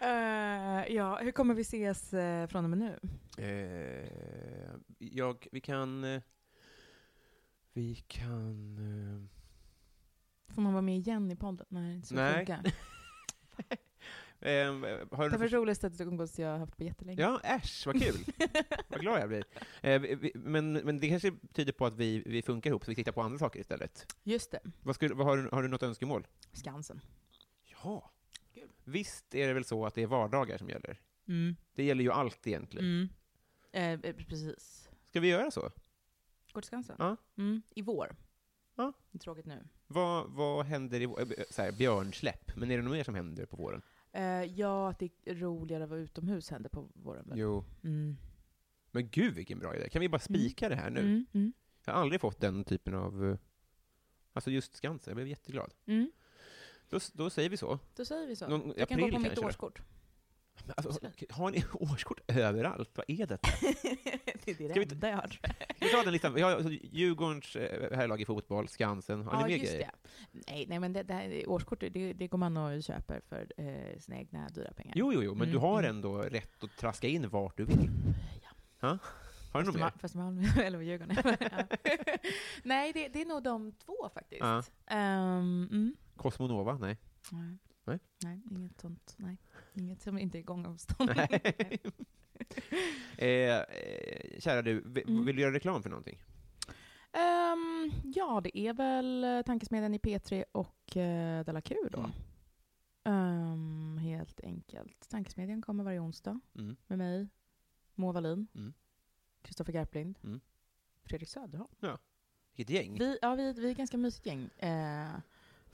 Speaker 3: Eh, ja, hur kommer vi ses eh, från och med nu?
Speaker 2: Eh, jag, vi kan... eh, Vi kan... eh,
Speaker 3: Får man vara med igen i podden? Nej, inte så
Speaker 2: Nej.
Speaker 3: funkar.
Speaker 2: Eh, har
Speaker 3: Det
Speaker 2: du
Speaker 3: var det roligaste att umgås jag har haft på jättelänge.
Speaker 2: Ja, äsch, vad kul! vad glad jag blir. Eh, vi- vi- men, men det kanske tyder på att vi, vi funkar ihop, så vi tittar på andra saker istället.
Speaker 3: Just det.
Speaker 2: Vad skulle, vad har, du- har du något önskemål?
Speaker 3: Skansen.
Speaker 2: Ja!
Speaker 3: Kul.
Speaker 2: Visst är det väl så att det är vardagar som gäller?
Speaker 3: Mm.
Speaker 2: Det gäller ju allt egentligen.
Speaker 3: Mm. Eh, eh, precis.
Speaker 2: Ska vi göra så?
Speaker 3: Går till Skansen?
Speaker 2: Ja.
Speaker 3: Mm, I vår.
Speaker 2: Ja.
Speaker 3: Det är tråkigt nu.
Speaker 2: Vad, vad händer i vår... eh, Så här, björnsläpp, men är det något mer som händer på våren?
Speaker 3: Eh, ja, att det är roligare att vara utomhus händer på våren. väl?
Speaker 2: Jo.
Speaker 3: Mm.
Speaker 2: Men gud vilken bra idé! Kan vi bara spika det här nu?
Speaker 3: Mm, mm,
Speaker 2: Jag har aldrig fått den typen av... eh, Alltså just Skansen, jag blev jätteglad.
Speaker 3: mm.
Speaker 2: Då, då säger vi så.
Speaker 3: Då säger vi så.
Speaker 2: Någon-
Speaker 3: jag kan gå
Speaker 2: april
Speaker 3: på mitt
Speaker 2: kanske då?
Speaker 3: årskort.
Speaker 2: Men Alltså,
Speaker 3: Absolut.
Speaker 2: har ni årskort överallt? Vad är det?
Speaker 3: det är det
Speaker 2: Ska vi ta-
Speaker 3: enda jag har.
Speaker 2: Vi tar den listan. Vi har alltså Djurgårdens eh, herrlag i fotboll, Skansen. Har ni mer grejer?
Speaker 3: det. Nej, nej men det, det här, årskort, det, det går man och köper för eh, sina egna dyra pengar.
Speaker 2: Jo, jo, jo, men
Speaker 3: Mm,
Speaker 2: du har
Speaker 3: mm.
Speaker 2: ändå rätt att traska in vart du vill.
Speaker 3: Ja.
Speaker 2: Har du något mer?
Speaker 3: Fast Mal- Fast Malmö, eller vad Djurgården är. Ja. Nej, det, det är nog de två faktiskt.
Speaker 2: Ja.
Speaker 3: Ehm, mm.
Speaker 2: Cosmonova? Nej.
Speaker 3: Nej.
Speaker 2: Nej.
Speaker 3: Nej, inget sånt. Nej. Inget som inte är gångavstånd.
Speaker 2: Nej. eh, eh, kära du, vi-
Speaker 3: Mm.
Speaker 2: vill du göra reklam för någonting?
Speaker 3: Ehm, ja, det är väl eh, Tankesmedjan i P3 och eh, Della Q då.
Speaker 2: Mm.
Speaker 3: Ehm, helt enkelt. Tankesmedjan kommer varje onsdag
Speaker 2: Mm.
Speaker 3: med mig, Moa Wallin,
Speaker 2: Mm.
Speaker 3: Kristoffer Garplind,
Speaker 2: Mm.
Speaker 3: Fredrik Söderholm.
Speaker 2: Vilket gäng.
Speaker 3: Vi, ja, vi, vi är ett ganska mysigt gäng eh,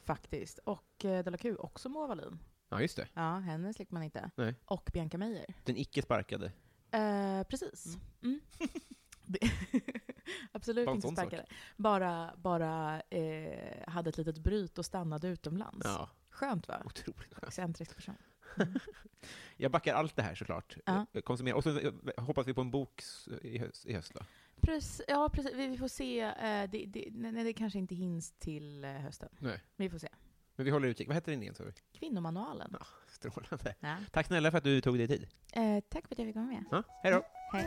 Speaker 3: faktiskt. Och eh, Della Q, också Moa Wallin.
Speaker 2: Ja, just det.
Speaker 3: Ja, henne slipper man inte.
Speaker 2: Nej.
Speaker 3: Och Bianca Meijer.
Speaker 2: Den icke sparkade.
Speaker 3: Eh, precis. Mm. Det- Absolut
Speaker 2: Bara en
Speaker 3: inte
Speaker 2: sån sak.
Speaker 3: sparkade. Bara, bara eh, hade ett litet bryt och stannade utomlands.
Speaker 2: Ja,
Speaker 3: Skönt va?
Speaker 2: otroligt.
Speaker 3: Excentrisk person.
Speaker 2: Jag backar allt det här såklart.
Speaker 3: Ja.
Speaker 2: Eh, Konsumera. Och så eh, hoppas vi på en bok s- i höst, i höst då.
Speaker 3: Precis, ja, precis. Vi vi får se. eh, Det, det, nej, nej, det kanske inte hinns till eh, hösten.
Speaker 2: Nej.
Speaker 3: Vi får se.
Speaker 2: Men vi håller utkik. Vad heter den igen? sa vi?
Speaker 3: Kvinnomanualen.
Speaker 2: Strålande.
Speaker 3: Ja.
Speaker 2: Tack snälla för att du tog dig tid.
Speaker 3: Eh, tack för att jag fick vara med.
Speaker 2: Ja, hej då.
Speaker 3: Hej.